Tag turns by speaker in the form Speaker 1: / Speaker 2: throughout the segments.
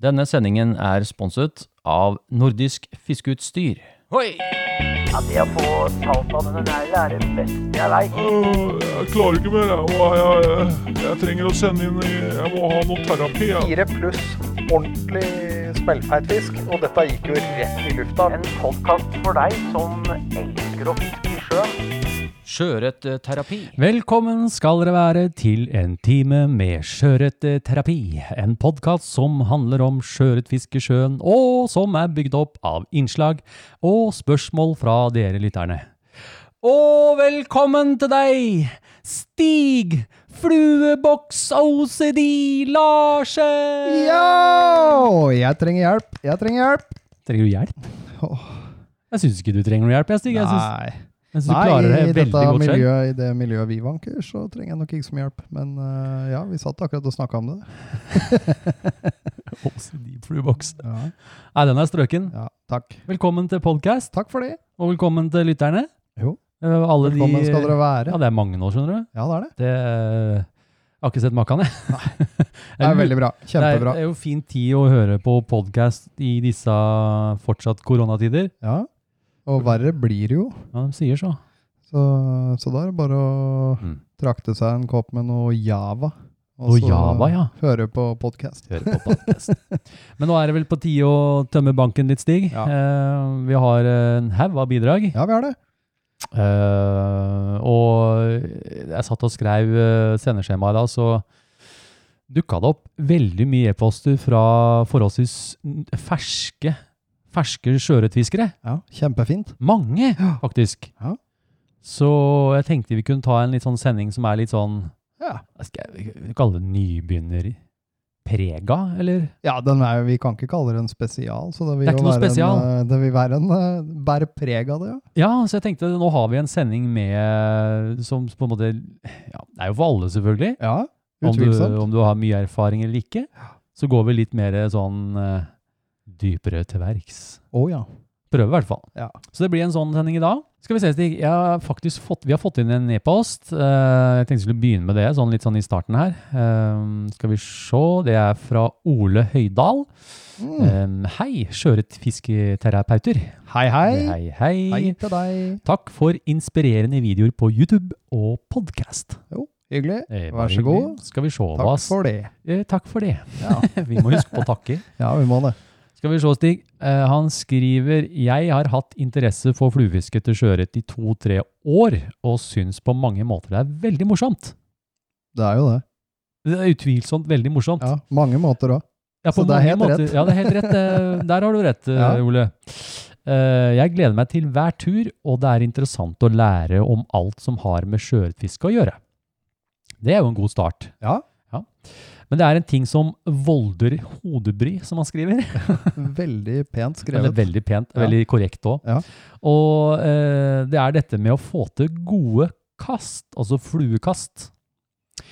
Speaker 1: Denne sendingen er sponset av Nordisk Fiskeutstyr. Hoi!
Speaker 2: Ja, det å få talt av denne negla er det beste jeg veit.
Speaker 3: Øh, Jeg klarer ikke mer. Jeg, Åh, jeg, jeg, jeg trenger å sende inn i- Jeg må ha noe terapi. Jeg.
Speaker 4: Fire pluss ordentlig smellfeit fisk, og dette gikk jo rett i lufta.
Speaker 2: En podkast for deg som elsker å fiske i sjøen.
Speaker 1: Sjøørretterapi.
Speaker 5: Velkommen skal dere være til en time med Sjøørretterapi. En podkast som handler om sjøørretfiske i sjøen, og som er bygd opp av innslag og spørsmål fra dere lytterne. Og velkommen til deg, Stig Flueboks OCD Larsen!
Speaker 6: Ja! Jeg trenger hjelp. Jeg trenger hjelp.
Speaker 5: Trenger du hjelp? Jeg syns ikke du trenger noe hjelp, jeg, Stig. Jeg syns,
Speaker 6: Nei,
Speaker 5: jeg syns du
Speaker 6: Nei
Speaker 5: klarer
Speaker 6: i,
Speaker 5: det
Speaker 6: dette
Speaker 5: veldig godt selv.
Speaker 6: miljøet, i det miljøet vi vanker, så trenger jeg nok ikke så mye hjelp. Men øh, ja, vi satt akkurat og snakka om det.
Speaker 5: OCD Flueboks.
Speaker 6: Ja,
Speaker 5: Nei, den er strøken.
Speaker 6: ja, takk.
Speaker 5: Velkommen til podkast.
Speaker 6: Takk for det.
Speaker 5: Og velkommen til lytterne.
Speaker 6: Jo.
Speaker 5: Eh, Alle
Speaker 6: Velkommen
Speaker 5: de,
Speaker 6: skal dere
Speaker 5: Ja,
Speaker 6: være.
Speaker 5: det er mange nå, skjønner du.
Speaker 6: Ja, det er det.
Speaker 5: Det, eh, jeg har ikke sett maken, jeg.
Speaker 6: Det er veldig bra. Kjempebra.
Speaker 5: Det er jo fin tid å høre på podkast i disse fortsatt koronatider.
Speaker 6: Ja. Og verre blir det jo.
Speaker 5: Ja, de sier så.
Speaker 6: Så, så da er det bare å
Speaker 5: Mm.
Speaker 6: trakte seg en kopp med noe Java.
Speaker 5: Og Java, ja.
Speaker 6: høre på podkast.
Speaker 5: Høre på podcast. Men nå er det vel på tide å tømme banken litt, Stig.
Speaker 6: Ja.
Speaker 5: Eh, vi har en haug av bidrag.
Speaker 6: Ja, vi har det.
Speaker 5: Eh, og jeg satt og skrev uh, sendeskjemaet da, så dukka det opp veldig mye e-poster fra forholdsvis n- ferske, ferske sjøørretfiskere.
Speaker 6: Ja, Kjempefint.
Speaker 5: Mange, faktisk.
Speaker 6: Ja.
Speaker 5: Så jeg tenkte vi kunne ta en litt sånn sending som er litt sånn
Speaker 6: Ja.
Speaker 5: hva Skal jeg kalle det nybegynnerprega, eller?
Speaker 6: Ja, den er, jo- vi kan ikke kalle det en spesial. Så det vil
Speaker 5: Det er
Speaker 6: jo
Speaker 5: ikke noe
Speaker 6: være en,
Speaker 5: spesial.
Speaker 6: eh, det vil være en eh, bærer preg av det, ja.
Speaker 5: Ja, så jeg tenkte nå har vi en sending med som på en måte ja, Det er jo for alle, selvfølgelig.
Speaker 6: Ja,
Speaker 5: om du,
Speaker 6: utvilsomt.
Speaker 5: om du har mye erfaring eller ikke, så går vi litt mer sånn eh, dypere til verks.
Speaker 6: Å ja.
Speaker 5: Prøve i hvert fall.
Speaker 6: Ja.
Speaker 5: Så det blir en sånn sending i dag. Skal vi se, Stig. Jeg har faktisk fått, vi har fått inn en e-post. Eh, jeg tenkte jeg skulle begynne med det, sånn litt sånn i starten her. Eh, skal vi se. Det er fra Ole Høydal.
Speaker 6: Mm.
Speaker 5: Eh, hei, sjøørretfisketerapeuter.
Speaker 6: Hei, hei.
Speaker 5: Hei, hei.
Speaker 6: Hei til deg.
Speaker 5: Takk for inspirerende videoer på YouTube og podkast.
Speaker 6: Jo, hyggelig.
Speaker 5: Eh,
Speaker 6: Vær
Speaker 5: bare
Speaker 6: så
Speaker 5: hyggelig.
Speaker 6: god.
Speaker 5: Skal vi se hva
Speaker 6: Takk for det.
Speaker 5: Eh, takk for det.
Speaker 6: Ja.
Speaker 5: vi må huske på å takke.
Speaker 6: Ja, vi må det.
Speaker 5: Skal vi se, Stig. Eh, han skriver Jeg har hatt interesse for fluefiske til sjøørret i to-tre år, og syns på mange måter det er veldig morsomt.
Speaker 6: Det er jo det.
Speaker 5: Det er utvilsomt veldig morsomt.
Speaker 6: Ja, mange måter òg.
Speaker 5: Ja, på
Speaker 6: så det er
Speaker 5: mange
Speaker 6: helt rett.
Speaker 5: Ja, det er helt rett. Eh, Der har du rett, eh,
Speaker 6: Ja.
Speaker 5: Ole. Eh, Jeg gleder meg til hver tur, og det er interessant å lære om alt som har med sjøørretfiske å gjøre. Det er jo en god start.
Speaker 6: Ja.
Speaker 5: ja. Men det er en ting som volder hodebry, som han skriver.
Speaker 6: Veldig pent
Speaker 5: Men det er
Speaker 6: skrevet.
Speaker 5: veldig pent,
Speaker 6: Ja.
Speaker 5: veldig korrekt òg.
Speaker 6: Ja.
Speaker 5: Og eh, det er dette med å få til gode kast, altså fluekast.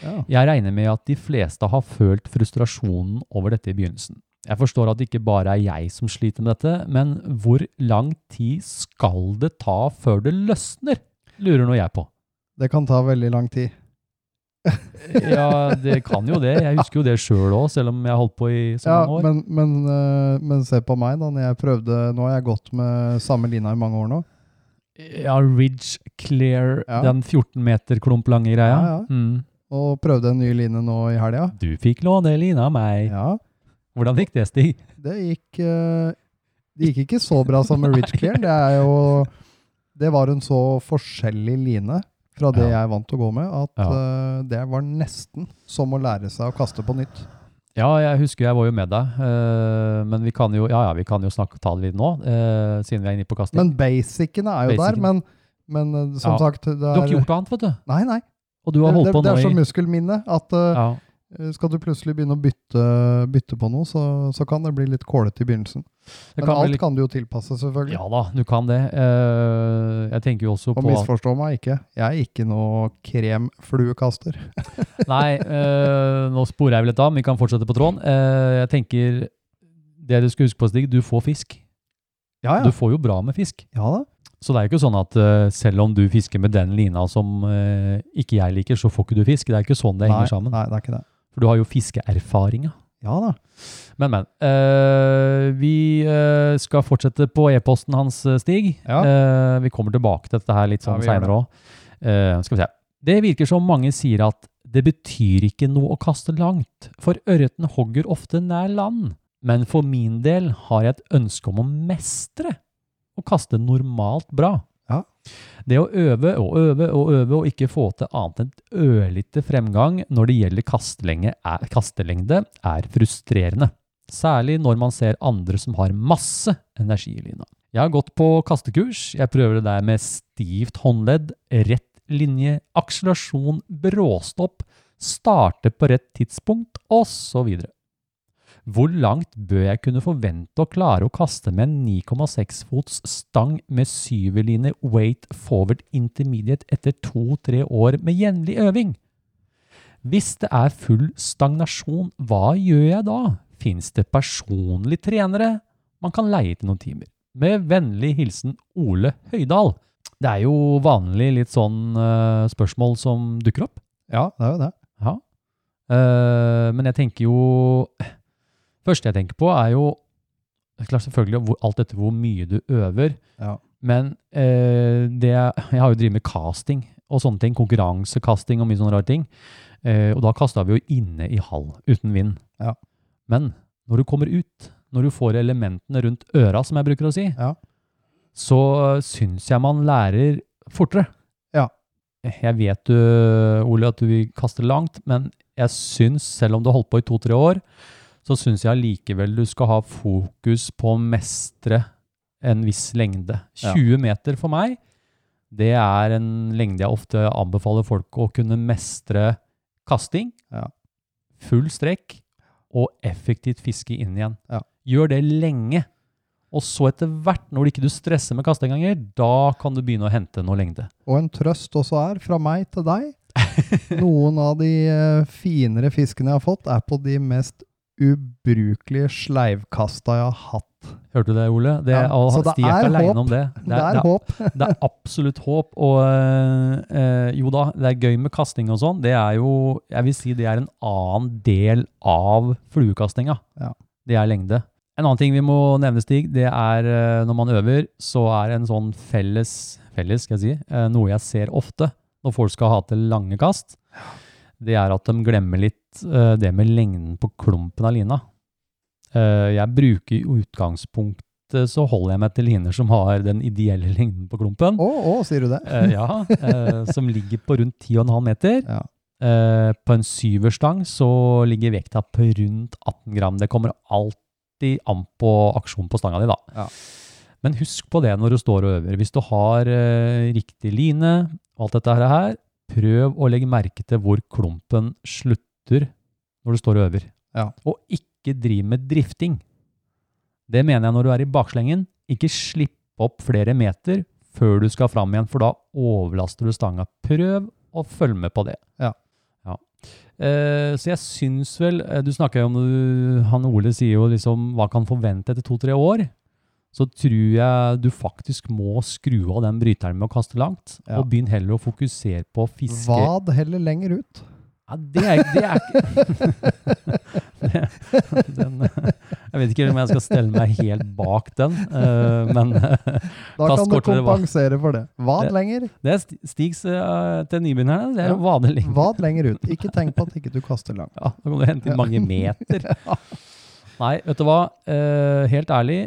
Speaker 6: Ja.
Speaker 5: Jeg regner med at de fleste har følt frustrasjonen over dette i begynnelsen. Jeg forstår at det ikke bare er jeg som sliter med dette, men hvor lang tid skal det ta før det løsner? Lurer nå jeg på.
Speaker 6: Det kan ta veldig lang tid.
Speaker 5: Ja, det kan jo det. Jeg husker jo det sjøl òg, selv om jeg har holdt på i så
Speaker 6: Ja,
Speaker 5: mange år.
Speaker 6: men, men, eh, men se på meg, da. Når jeg prøvde Nå har jeg gått med samme lina i mange år nå.
Speaker 5: Ja, Ridge Clear,
Speaker 6: Ja.
Speaker 5: den 14 meter klump lange greia.
Speaker 6: Ja, ja.
Speaker 5: Mm.
Speaker 6: Og prøvde en ny line nå i helga.
Speaker 5: Du fikk låne lina av meg.
Speaker 6: Ja.
Speaker 5: Hvordan gikk det, Stig?
Speaker 6: Det gikk, eh, det gikk ikke så bra som med Rich Clear. Det, er jo, det var en så forskjellig line fra det jeg er vant til å gå med, at eh, det var nesten som å lære seg å kaste på nytt.
Speaker 5: Ja, jeg husker jeg var jo med deg, eh, men vi kan jo, ja, ja, vi kan jo snakke, ta det litt nå, eh, siden vi er inne på kasting.
Speaker 6: Men basicene er jo
Speaker 5: Basicen.
Speaker 6: der. Men, men eh, som
Speaker 5: Ja.
Speaker 6: sagt det
Speaker 5: du har
Speaker 6: er,
Speaker 5: ikke gjort noe annet, vet du.
Speaker 6: Nei, nei.
Speaker 5: Og du har
Speaker 6: Det,
Speaker 5: holdt
Speaker 6: det,
Speaker 5: på
Speaker 6: det
Speaker 5: nå
Speaker 6: er så
Speaker 5: i
Speaker 6: muskelminne at eh,
Speaker 5: ja.
Speaker 6: skal du plutselig begynne å bytte, bytte på noe, så, så kan det bli litt kålete i begynnelsen.
Speaker 5: det
Speaker 6: Men
Speaker 5: kan
Speaker 6: alt
Speaker 5: vel-
Speaker 6: kan du jo tilpasse, selvfølgelig.
Speaker 5: Ja da, du kan det. Eh, jeg tenker jo også
Speaker 6: Og
Speaker 5: på at-
Speaker 6: misforstå meg ikke, jeg er ikke noe kremfluekaster.
Speaker 5: Nei, eh, nå sporer jeg vel litt av, men vi kan fortsette på tråden. Eh, jeg tenker det du skal huske på, Stig, du får fisk.
Speaker 6: Ja,
Speaker 5: Du får jo bra med fisk.
Speaker 6: ja da.
Speaker 5: Så det er jo ikke sånn at eh, selv om du fisker med den lina som eh, ikke jeg liker, så får ikke du fisk. Det er ikke sånn det henger
Speaker 6: nei,
Speaker 5: sammen.
Speaker 6: Nei, det er ikke det.
Speaker 5: For du har jo fiskeerfaringa.
Speaker 6: Ja da.
Speaker 5: Men, men. Eh, vi eh, skal fortsette på e-posten hans, eh, Stig.
Speaker 6: Ja.
Speaker 5: Eh, vi kommer tilbake til dette her litt
Speaker 6: Ja,
Speaker 5: sånn
Speaker 6: vi gjør det.
Speaker 5: senere òg. skal vi se. Det virker som mange sier at det betyr ikke noe å kaste langt, for ørreten hogger ofte nær land. Men for min del har jeg et ønske om å mestre og kaste normalt bra.
Speaker 6: Ja.
Speaker 5: Det å øve og øve og øve og ikke få til annet enn et ørlite fremgang når det gjelder kastelenge- er- kastelengde, er frustrerende. Særlig når man ser andre som har masse energi i lina. Jeg har gått på kastekurs. Jeg prøver det der med stivt håndledd, rett linje, akselerasjon, bråstopp, starte på rett tidspunkt, osv. Hvor langt bør jeg kunne forvente å klare å kaste med en 9,6 fots stang med syverline weight forward intermediate etter to-tre år med jevnlig øving? Hvis det er full stagnasjon, hva gjør jeg da? Fins det personlige trenere man kan leie til noen timer? Med vennlig hilsen Ole Høydal. Det er jo vanlig litt sånn eh, spørsmål som dukker opp.
Speaker 6: Ja, det er jo det.
Speaker 5: Ja. Eh, men jeg tenker jo Første jeg tenker på, er jo det er klart selvfølgelig hvor, alt dette hvor mye du øver.
Speaker 6: Ja.
Speaker 5: Men eh, det, jeg har jo drevet med casting og sånne ting. Konkurransekasting og mye sånne rare ting. Eh, og da kasta vi jo inne i hall uten vind.
Speaker 6: Ja.
Speaker 5: Men når du kommer ut, når du får elementene rundt øra, som jeg bruker å si,
Speaker 6: Ja.
Speaker 5: så syns jeg man lærer fortere.
Speaker 6: Ja.
Speaker 5: Jeg vet du, Ole, at du vil kaste langt, men jeg syns, selv om du har holdt på i to-tre år, så syns jeg allikevel du skal ha fokus på å mestre en viss lengde.
Speaker 6: Ja.
Speaker 5: 20 meter for meg, det er en lengde jeg ofte anbefaler folk å kunne mestre kasting,
Speaker 6: Ja.
Speaker 5: full strekk og effektivt fiske inn igjen.
Speaker 6: Ja.
Speaker 5: Gjør det lenge, og så etter hvert, når du ikke du stresser med kastenganger, da kan du begynne å hente noe lengde.
Speaker 6: Og en trøst også er, fra meg til deg, noen av de eh, finere fiskene jeg har fått, er på de mest ubrukelige sleivkasta jeg har hatt.
Speaker 5: Hørte du det, Ole? Det,
Speaker 6: Ja,
Speaker 5: all,
Speaker 6: så det
Speaker 5: Stig er
Speaker 6: er
Speaker 5: ikke
Speaker 6: håp.
Speaker 5: alene om det.
Speaker 6: Det er, håp.
Speaker 5: det er absolutt håp. Og eh, eh, jo da, det er gøy med kasting og sånn. Det er jo, jeg vil si det er en annen del av fluekastinga.
Speaker 6: Ja.
Speaker 5: Det er lengde. En annen ting vi må nevne, Stig, det er eh, når man øver, så er en sånn felles, felles skal jeg si, eh, noe jeg ser ofte når folk skal ha til lange kast, det er at de glemmer litt eh, det med lengden på klumpen av lina. Eh, jeg bruker i utgangspunktet så holder jeg meg til liner som har den ideelle lengden på klumpen.
Speaker 6: Å, å, sier du det?
Speaker 5: Eh, ja, eh, som ligger på rundt 10,5 meter.
Speaker 6: Ja.
Speaker 5: Eh, på en syverstang så ligger vekta på rundt 18 gram. Det kommer alltid an på aksjon på stanga di, da.
Speaker 6: Ja.
Speaker 5: Men husk på det når du står og øver. Hvis du har eh, riktig line og alt dette her, prøv å legge merke til hvor klumpen slutter når du står og øver.
Speaker 6: Ja.
Speaker 5: Og ikke driv med drifting. Det mener jeg når du er i bakslengen. Ikke slipp opp flere meter før du skal fram igjen, for da overlaster du stanga. Prøv å følge med på det.
Speaker 6: Ja.
Speaker 5: Ja. Eh, så jeg syns vel eh, Du snakker jo om du, Han Ole sier jo liksom hva kan forvente etter to-tre år. Så tror jeg du faktisk må skru av den bryteren med å kaste langt,
Speaker 6: Ja.
Speaker 5: og begynn heller å fokusere på å fiske
Speaker 6: Vad heller lenger ut.
Speaker 5: ja, det er, det er ikke den, Jeg vet ikke om jeg skal stelle meg helt bak den, eh, men eh, Kast
Speaker 6: Da kan du
Speaker 5: kortere vad.
Speaker 6: kompensere for det. Vad
Speaker 5: Det-
Speaker 6: lenger,
Speaker 5: det er sti- Stigs eh, til nybegynnerne. Det er
Speaker 6: Ja.
Speaker 5: jo vadeling.
Speaker 6: vad lenger ut. Ikke tenk på at ikke du kaster langt.
Speaker 5: Ja, da kan du hente inn mange meter. Nei, vet du hva? Eh, helt ærlig,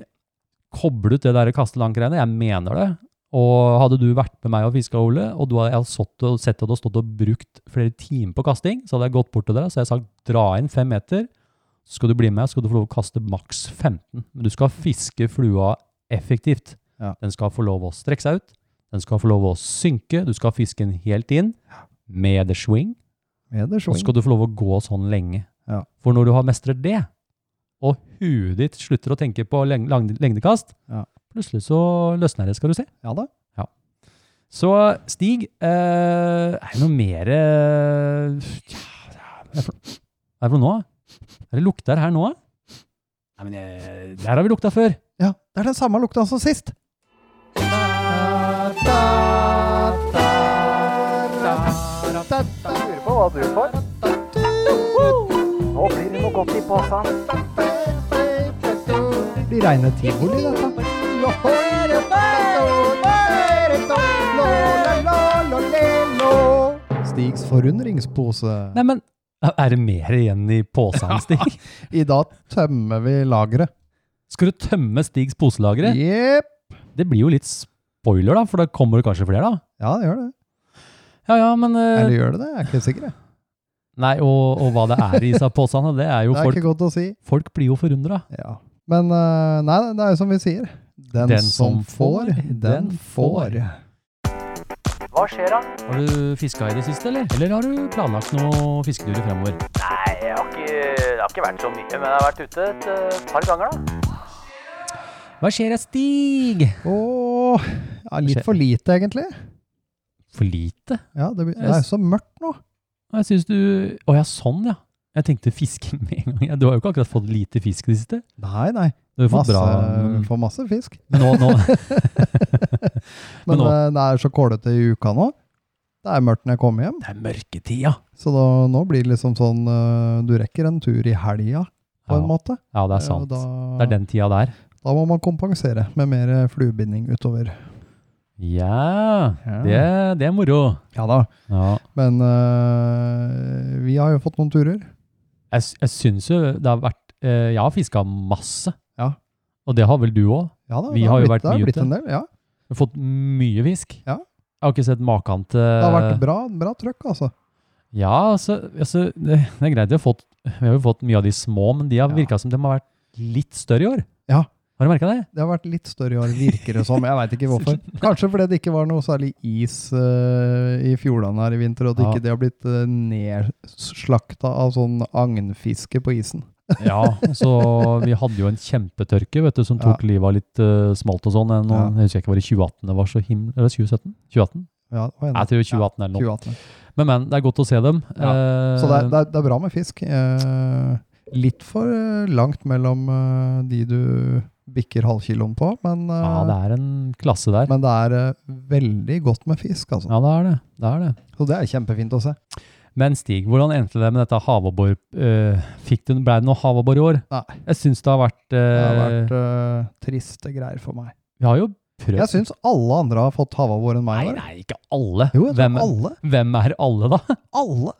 Speaker 5: koblet det der kastelanggreiene. Jeg mener det. Og hadde du vært med meg og fiska, Ole, og du hadde, jeg hadde stått og sett at du hadde stått og brukt flere timer på kasting, så hadde jeg gått bort til deg så hadde jeg sagt dra inn fem meter. Så skal du bli med, så skal du få lov å kaste maks 15. Men du skal fiske flua effektivt.
Speaker 6: Ja.
Speaker 5: Den skal få lov å strekke seg ut. Den skal få lov å synke. Du skal fiske den helt inn med the swing.
Speaker 6: Med det
Speaker 5: Og
Speaker 6: swing.
Speaker 5: skal du få lov å gå sånn lenge.
Speaker 6: Ja.
Speaker 5: For når du har mestret det, og huet ditt slutter å tenke på leng lang lengdekast,
Speaker 6: Ja.
Speaker 5: plutselig så løsner det, skal du se.
Speaker 6: Ja da.
Speaker 5: Så Stig, eh, er det noe mer eh, tja, Hva er det for- hva er det for noe nå? Er det lukter her nå? Nei, men eh, Der har vi lukta før.
Speaker 6: Ja, det er den samme lukta som sist.
Speaker 4: Lurer på hva du får. Nå blir det
Speaker 2: noe godt i posen.
Speaker 6: Blir reine tivoli, dette. Stigs forundringspose.
Speaker 5: Nei, men er det mer igjen i posen, Stig?
Speaker 6: I dag tømmer vi lageret.
Speaker 5: Skal du tømme Stigs poselagre?
Speaker 6: Jepp.
Speaker 5: Det blir jo litt spoiler, da, for da kommer det kanskje flere, da.
Speaker 6: Ja, det gjør det.
Speaker 5: Ja, ja, men eh,
Speaker 6: Eller gjør det det? Jeg er ikke sikker. jeg.
Speaker 5: Nei, og, og hva det er i disse posene, det er jo
Speaker 6: Det er
Speaker 5: folk
Speaker 6: ikke godt å si.
Speaker 5: Folk blir jo forundra.
Speaker 6: Ja. Men eh, nei, det er jo som vi sier. Den,
Speaker 5: Den som
Speaker 6: som får,
Speaker 5: får,
Speaker 6: den
Speaker 5: den
Speaker 6: får.
Speaker 2: Hva skjer da?
Speaker 5: Har du fiska i det siste, eller? Eller har du planlagt noen fisketurer fremover?
Speaker 2: Nei, jeg har ikke, det har ikke vært så mye, men jeg har vært ute et eh, par ganger da.
Speaker 5: Hva skjer da, Stig?
Speaker 6: Åh, ja, litt for lite egentlig.
Speaker 5: For lite?
Speaker 6: Ja, det, blir- det er jo så mørkt nå.
Speaker 5: Jeg syns du Å ja, sånn, ja. Jeg tenkte fisking med en gang. Ja, Du har jo ikke akkurat fått lite fisk i det siste.
Speaker 6: Nei, nei.
Speaker 5: Du har jo fått
Speaker 6: Masse,
Speaker 5: bra men
Speaker 6: Får masse fisk.
Speaker 5: nå, nå. Men
Speaker 6: Men
Speaker 5: nå-
Speaker 6: eh, det er så kålete i uka nå. Det er mørkt når jeg kommer hjem.
Speaker 5: Det er mørketid, ja.
Speaker 6: Så da, nå blir det liksom sånn eh, Du rekker en tur i helga, på en
Speaker 5: Ja,
Speaker 6: måte.
Speaker 5: ja, det er
Speaker 6: Eh, og
Speaker 5: sant.
Speaker 6: Da,
Speaker 5: Det er den tida der.
Speaker 6: da må man kompensere med mer eh, fluebinding utover.
Speaker 5: Ja,
Speaker 6: Ja.
Speaker 5: det, det er moro.
Speaker 6: Ja da.
Speaker 5: Ja.
Speaker 6: Men eh, vi har jo fått noen turer.
Speaker 5: Jeg, s- jeg syns jo det har vært eh, Jeg har fiska masse.
Speaker 6: Ja.
Speaker 5: Og det har vel du òg?
Speaker 6: Ja da,
Speaker 5: Vi
Speaker 6: det
Speaker 5: har jo
Speaker 6: blitt,
Speaker 5: vært
Speaker 6: det
Speaker 5: mye
Speaker 6: blitt
Speaker 5: ute.
Speaker 6: en del. Ja.
Speaker 5: Du har fått mye fisk.
Speaker 6: Ja.
Speaker 5: Jeg har ikke sett maken til
Speaker 6: Det har vært bra, bra trøkk, altså.
Speaker 5: Ja, altså, altså det, det er greit. Vi har, fått, vi har jo fått mye av de små, men de har
Speaker 6: Ja.
Speaker 5: virka som de har vært litt større i år.
Speaker 6: Ja.
Speaker 5: Har du merka det?
Speaker 6: Det har vært litt større i år, virker det som. Jeg veit ikke hvorfor. Kanskje fordi det ikke var noe særlig is eh, i fjordene her i vinter, og at
Speaker 5: Ja.
Speaker 6: ikke det har blitt uh, nedslakta av sånn agnfiske på isen.
Speaker 5: Ja, så vi hadde jo en kjempetørke vet du, som tok livet av litt eh, smalt og sånn. eh, Noen,
Speaker 6: Ja.
Speaker 5: Jeg husker ikke hva det 2018 det var så himmel... Eller 2017? 2018?
Speaker 6: Ja, det var en-
Speaker 5: Jeg tror 2018 eller noe.
Speaker 6: 2018.
Speaker 5: Men, men, det er godt å se dem.
Speaker 6: Ja.
Speaker 5: Eh,
Speaker 6: Så det er, det, er, det er bra med fisk. Eh, litt for eh, langt mellom eh, de du bikker halvkiloen på, men, eh,
Speaker 5: ja, det er en klasse der.
Speaker 6: men det er eh, veldig godt med fisk, altså.
Speaker 5: Ja, det er det. det er det.
Speaker 6: Så det er kjempefint å se.
Speaker 5: Men Stig, hvordan endte det med dette havabbor? eh, fikk du, ble det noe havabbor i år?
Speaker 6: Nei.
Speaker 5: Jeg syns det har vært,
Speaker 6: Det har
Speaker 5: eh,
Speaker 6: vært eh, triste greier for meg.
Speaker 5: Vi har jo prøvd
Speaker 6: Jeg syns alle andre har fått havabbor enn
Speaker 5: Nei,
Speaker 6: meg. i år.
Speaker 5: nei, ikke alle.
Speaker 6: Jo, jeg tror
Speaker 5: hvem,
Speaker 6: alle.
Speaker 5: hvem er alle, da?
Speaker 6: Alle.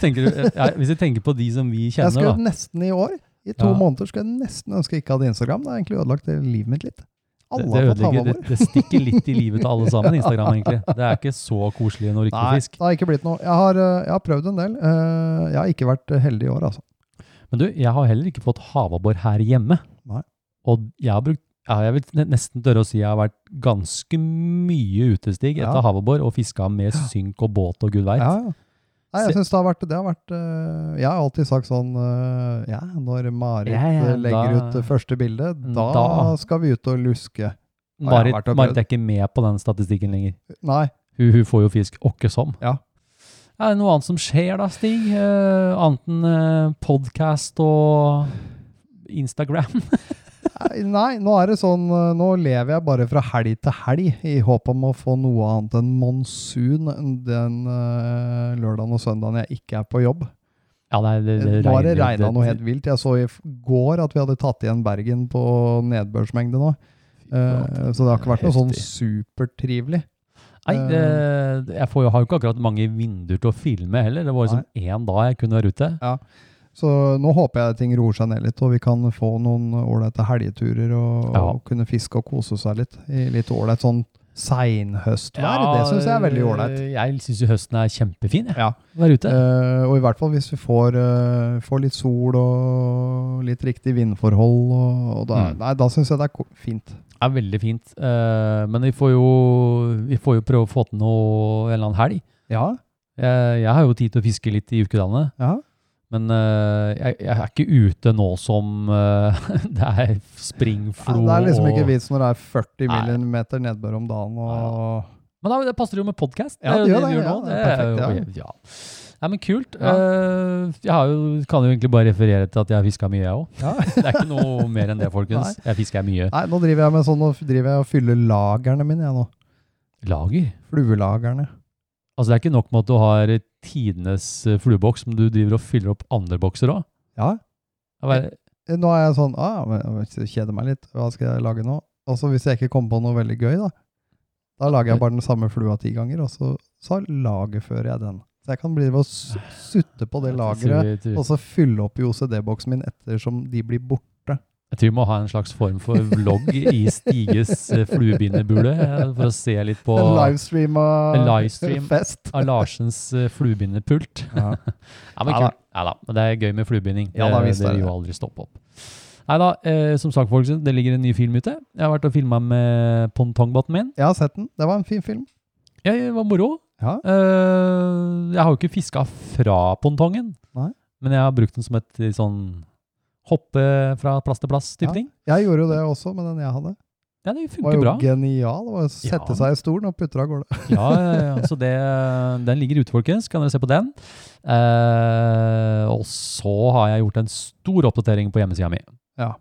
Speaker 5: Tenker du, ja, hvis vi tenker på de som vi
Speaker 6: Jeg
Speaker 5: kjenner,
Speaker 6: skulle
Speaker 5: da.
Speaker 6: nesten i år, i to
Speaker 5: Ja.
Speaker 6: måneder, skulle jeg nesten ønske jeg ikke hadde Instagram. Det har egentlig ødelagt det livet mitt litt.
Speaker 5: Det,
Speaker 6: Alle
Speaker 5: det,
Speaker 6: har fått
Speaker 5: ødelegger, det,
Speaker 6: havabbor.
Speaker 5: det stikker litt i livet til alle sammen, Instagram, egentlig. Det er ikke så koselig når du ikke
Speaker 6: Nei,
Speaker 5: får fisk.
Speaker 6: det har ikke blitt noe. Jeg har, eh, jeg har prøvd en del. Eh, Jeg har ikke vært heldig i år, altså.
Speaker 5: Men du, jeg har heller ikke fått havabbor her hjemme.
Speaker 6: Nei.
Speaker 5: Og jeg har brukt ja, Jeg vil ne- nesten tørre å si jeg har vært ganske mye utestig etter
Speaker 6: Ja.
Speaker 5: havabbor og fiska med synk og båt og gud veit.
Speaker 6: Ja, ja. Nei, jeg
Speaker 5: Se-
Speaker 6: synes det har vært, det har vært eh, Jeg har alltid sagt sånn eh, Ja, når Marit
Speaker 5: Ja, ja,
Speaker 6: eh, legger
Speaker 5: da-
Speaker 6: ut det første bildet, da,
Speaker 5: Da.
Speaker 6: skal vi ut og luske. jeg har
Speaker 5: Marit,
Speaker 6: vært og prøvd.
Speaker 5: Marit er ikke med på den statistikken lenger.
Speaker 6: Nei.
Speaker 5: Hun, hun får jo fisk åkke som.
Speaker 6: Ja.
Speaker 5: Er det noe annet som skjer da, Stig? Eh, annet enn eh, podcast og Instagram?
Speaker 6: Nei, Nei, nå er det sånn eh, Nå lever jeg bare fra helg til helg i håp om å få noe annet enn monsun den eh, lørdagen og søndagen jeg ikke er på jobb.
Speaker 5: Ja, nei, det, det
Speaker 6: Nå har
Speaker 5: regner
Speaker 6: det
Speaker 5: jo-
Speaker 6: regna noe helt vilt. Jeg så i f- går at vi hadde tatt igjen Bergen på nedbørsmengde nå. Eh, så det har ikke vært noe sånn supertrivelig.
Speaker 5: Nei,
Speaker 6: Eh.
Speaker 5: det, jeg får jo, har jo ikke akkurat mange vinduer til å filme heller. Det var liksom én dag jeg kunne være ute.
Speaker 6: Så nå håper jeg ting roer seg ned litt, og vi kan få noen ålreite helgeturer og,
Speaker 5: Ja.
Speaker 6: og kunne fiske og kose seg litt. I litt ålreit sånn seinhøstvær. det syns jeg er veldig ålreit.
Speaker 5: Jeg syns jo høsten er kjempefin, jeg.
Speaker 6: Ja.
Speaker 5: å Være ute.
Speaker 6: Eh, og i hvert fall hvis vi får, eh, får litt sol og litt riktig vindforhold. Og, og da,
Speaker 5: Mm.
Speaker 6: Nei, da syns jeg det er ko- fint.
Speaker 5: Det er veldig fint. Eh, men vi får, jo, vi får jo prøve å få til noe en eller annen helg.
Speaker 6: Ja,
Speaker 5: Jeg, jeg har jo tid til å fiske litt i ukedagene.
Speaker 6: ja.
Speaker 5: Men eh, jeg, jeg er ikke ute nå som eh, det er
Speaker 6: Nei,
Speaker 5: springflo.
Speaker 6: det er liksom ikke
Speaker 5: og-
Speaker 6: vits når det er 40
Speaker 5: Nei.
Speaker 6: millimeter nedbør om dagen. Og,
Speaker 5: Men da, det passer jo med podkast.
Speaker 6: Ja, det
Speaker 5: jo
Speaker 6: gjør det,
Speaker 5: vi gjør
Speaker 6: ja,
Speaker 5: nå.
Speaker 6: det er
Speaker 5: jo-
Speaker 6: perfekt,
Speaker 5: ja. Nei, men kult.
Speaker 6: Ja.
Speaker 5: Eh, jeg har jo, kan jo egentlig bare referere til at jeg har fiska mye, jeg òg.
Speaker 6: ja.
Speaker 5: Det er ikke noe mer enn det, folkens. Jeg fisker mye.
Speaker 6: Nei, nå driver jeg med sånn, nå driver jeg og fyller lagrene mine, jeg nå.
Speaker 5: Lager?
Speaker 6: Fluelagerne.
Speaker 5: Altså Det er ikke nok med at du har tidenes eh, flueboks, men du driver og fyller opp andre bokser òg.
Speaker 6: Ja. Eh, Nå er jeg sånn ah, men Jeg kjeder meg litt. Hva skal jeg lage nå? Og så hvis jeg ikke kommer på noe veldig gøy, da, da lager jeg bare den samme flua ti ganger, og så, så lagerfører jeg den. Så jeg kan drive og s- sutte på det lageret,
Speaker 5: Jeg tror,
Speaker 6: og så fylle opp i OCD-boksen min ettersom de blir borte.
Speaker 5: jeg tror vi må ha en slags form for vlogg i Stiges eh, fluebindebule, eh, for å se litt på
Speaker 6: En livestream av
Speaker 5: En livestream.
Speaker 6: fest.
Speaker 5: av Larsens eh, fluebindepult.
Speaker 6: Ja.
Speaker 5: Ja, men
Speaker 6: Ja da.
Speaker 5: kult. Ja da. Men det er gøy med fluebinding.
Speaker 6: Ja da,
Speaker 5: det,
Speaker 6: visst
Speaker 5: det
Speaker 6: er
Speaker 5: vil
Speaker 6: det.
Speaker 5: jo aldri stoppe opp. Nei da, eh, som sagt, folkens, det ligger en ny film ute. Jeg har vært og filma med pongtongbåten min.
Speaker 6: Jeg har sett den. Det var en fin film.
Speaker 5: Ja, det var moro.
Speaker 6: Ja.
Speaker 5: Eh, jeg har jo ikke fiska fra pongtongen,
Speaker 6: Nei.
Speaker 5: men jeg har brukt den som et eh, sånn hoppe fra plass til plass-type
Speaker 6: Ja.
Speaker 5: ting.
Speaker 6: Jeg gjorde jo det også med den jeg hadde.
Speaker 5: Ja, det
Speaker 6: Det var
Speaker 5: funker
Speaker 6: jo
Speaker 5: bra.
Speaker 6: genial. Det var å sette
Speaker 5: Ja.
Speaker 6: seg i stolen og putte av gårde.
Speaker 5: ja, ja, ja. Så det, den ligger ute, folkens. Kan dere se på den. Eh, og så har jeg gjort en stor oppdatering på hjemmesida mi.
Speaker 6: Ja.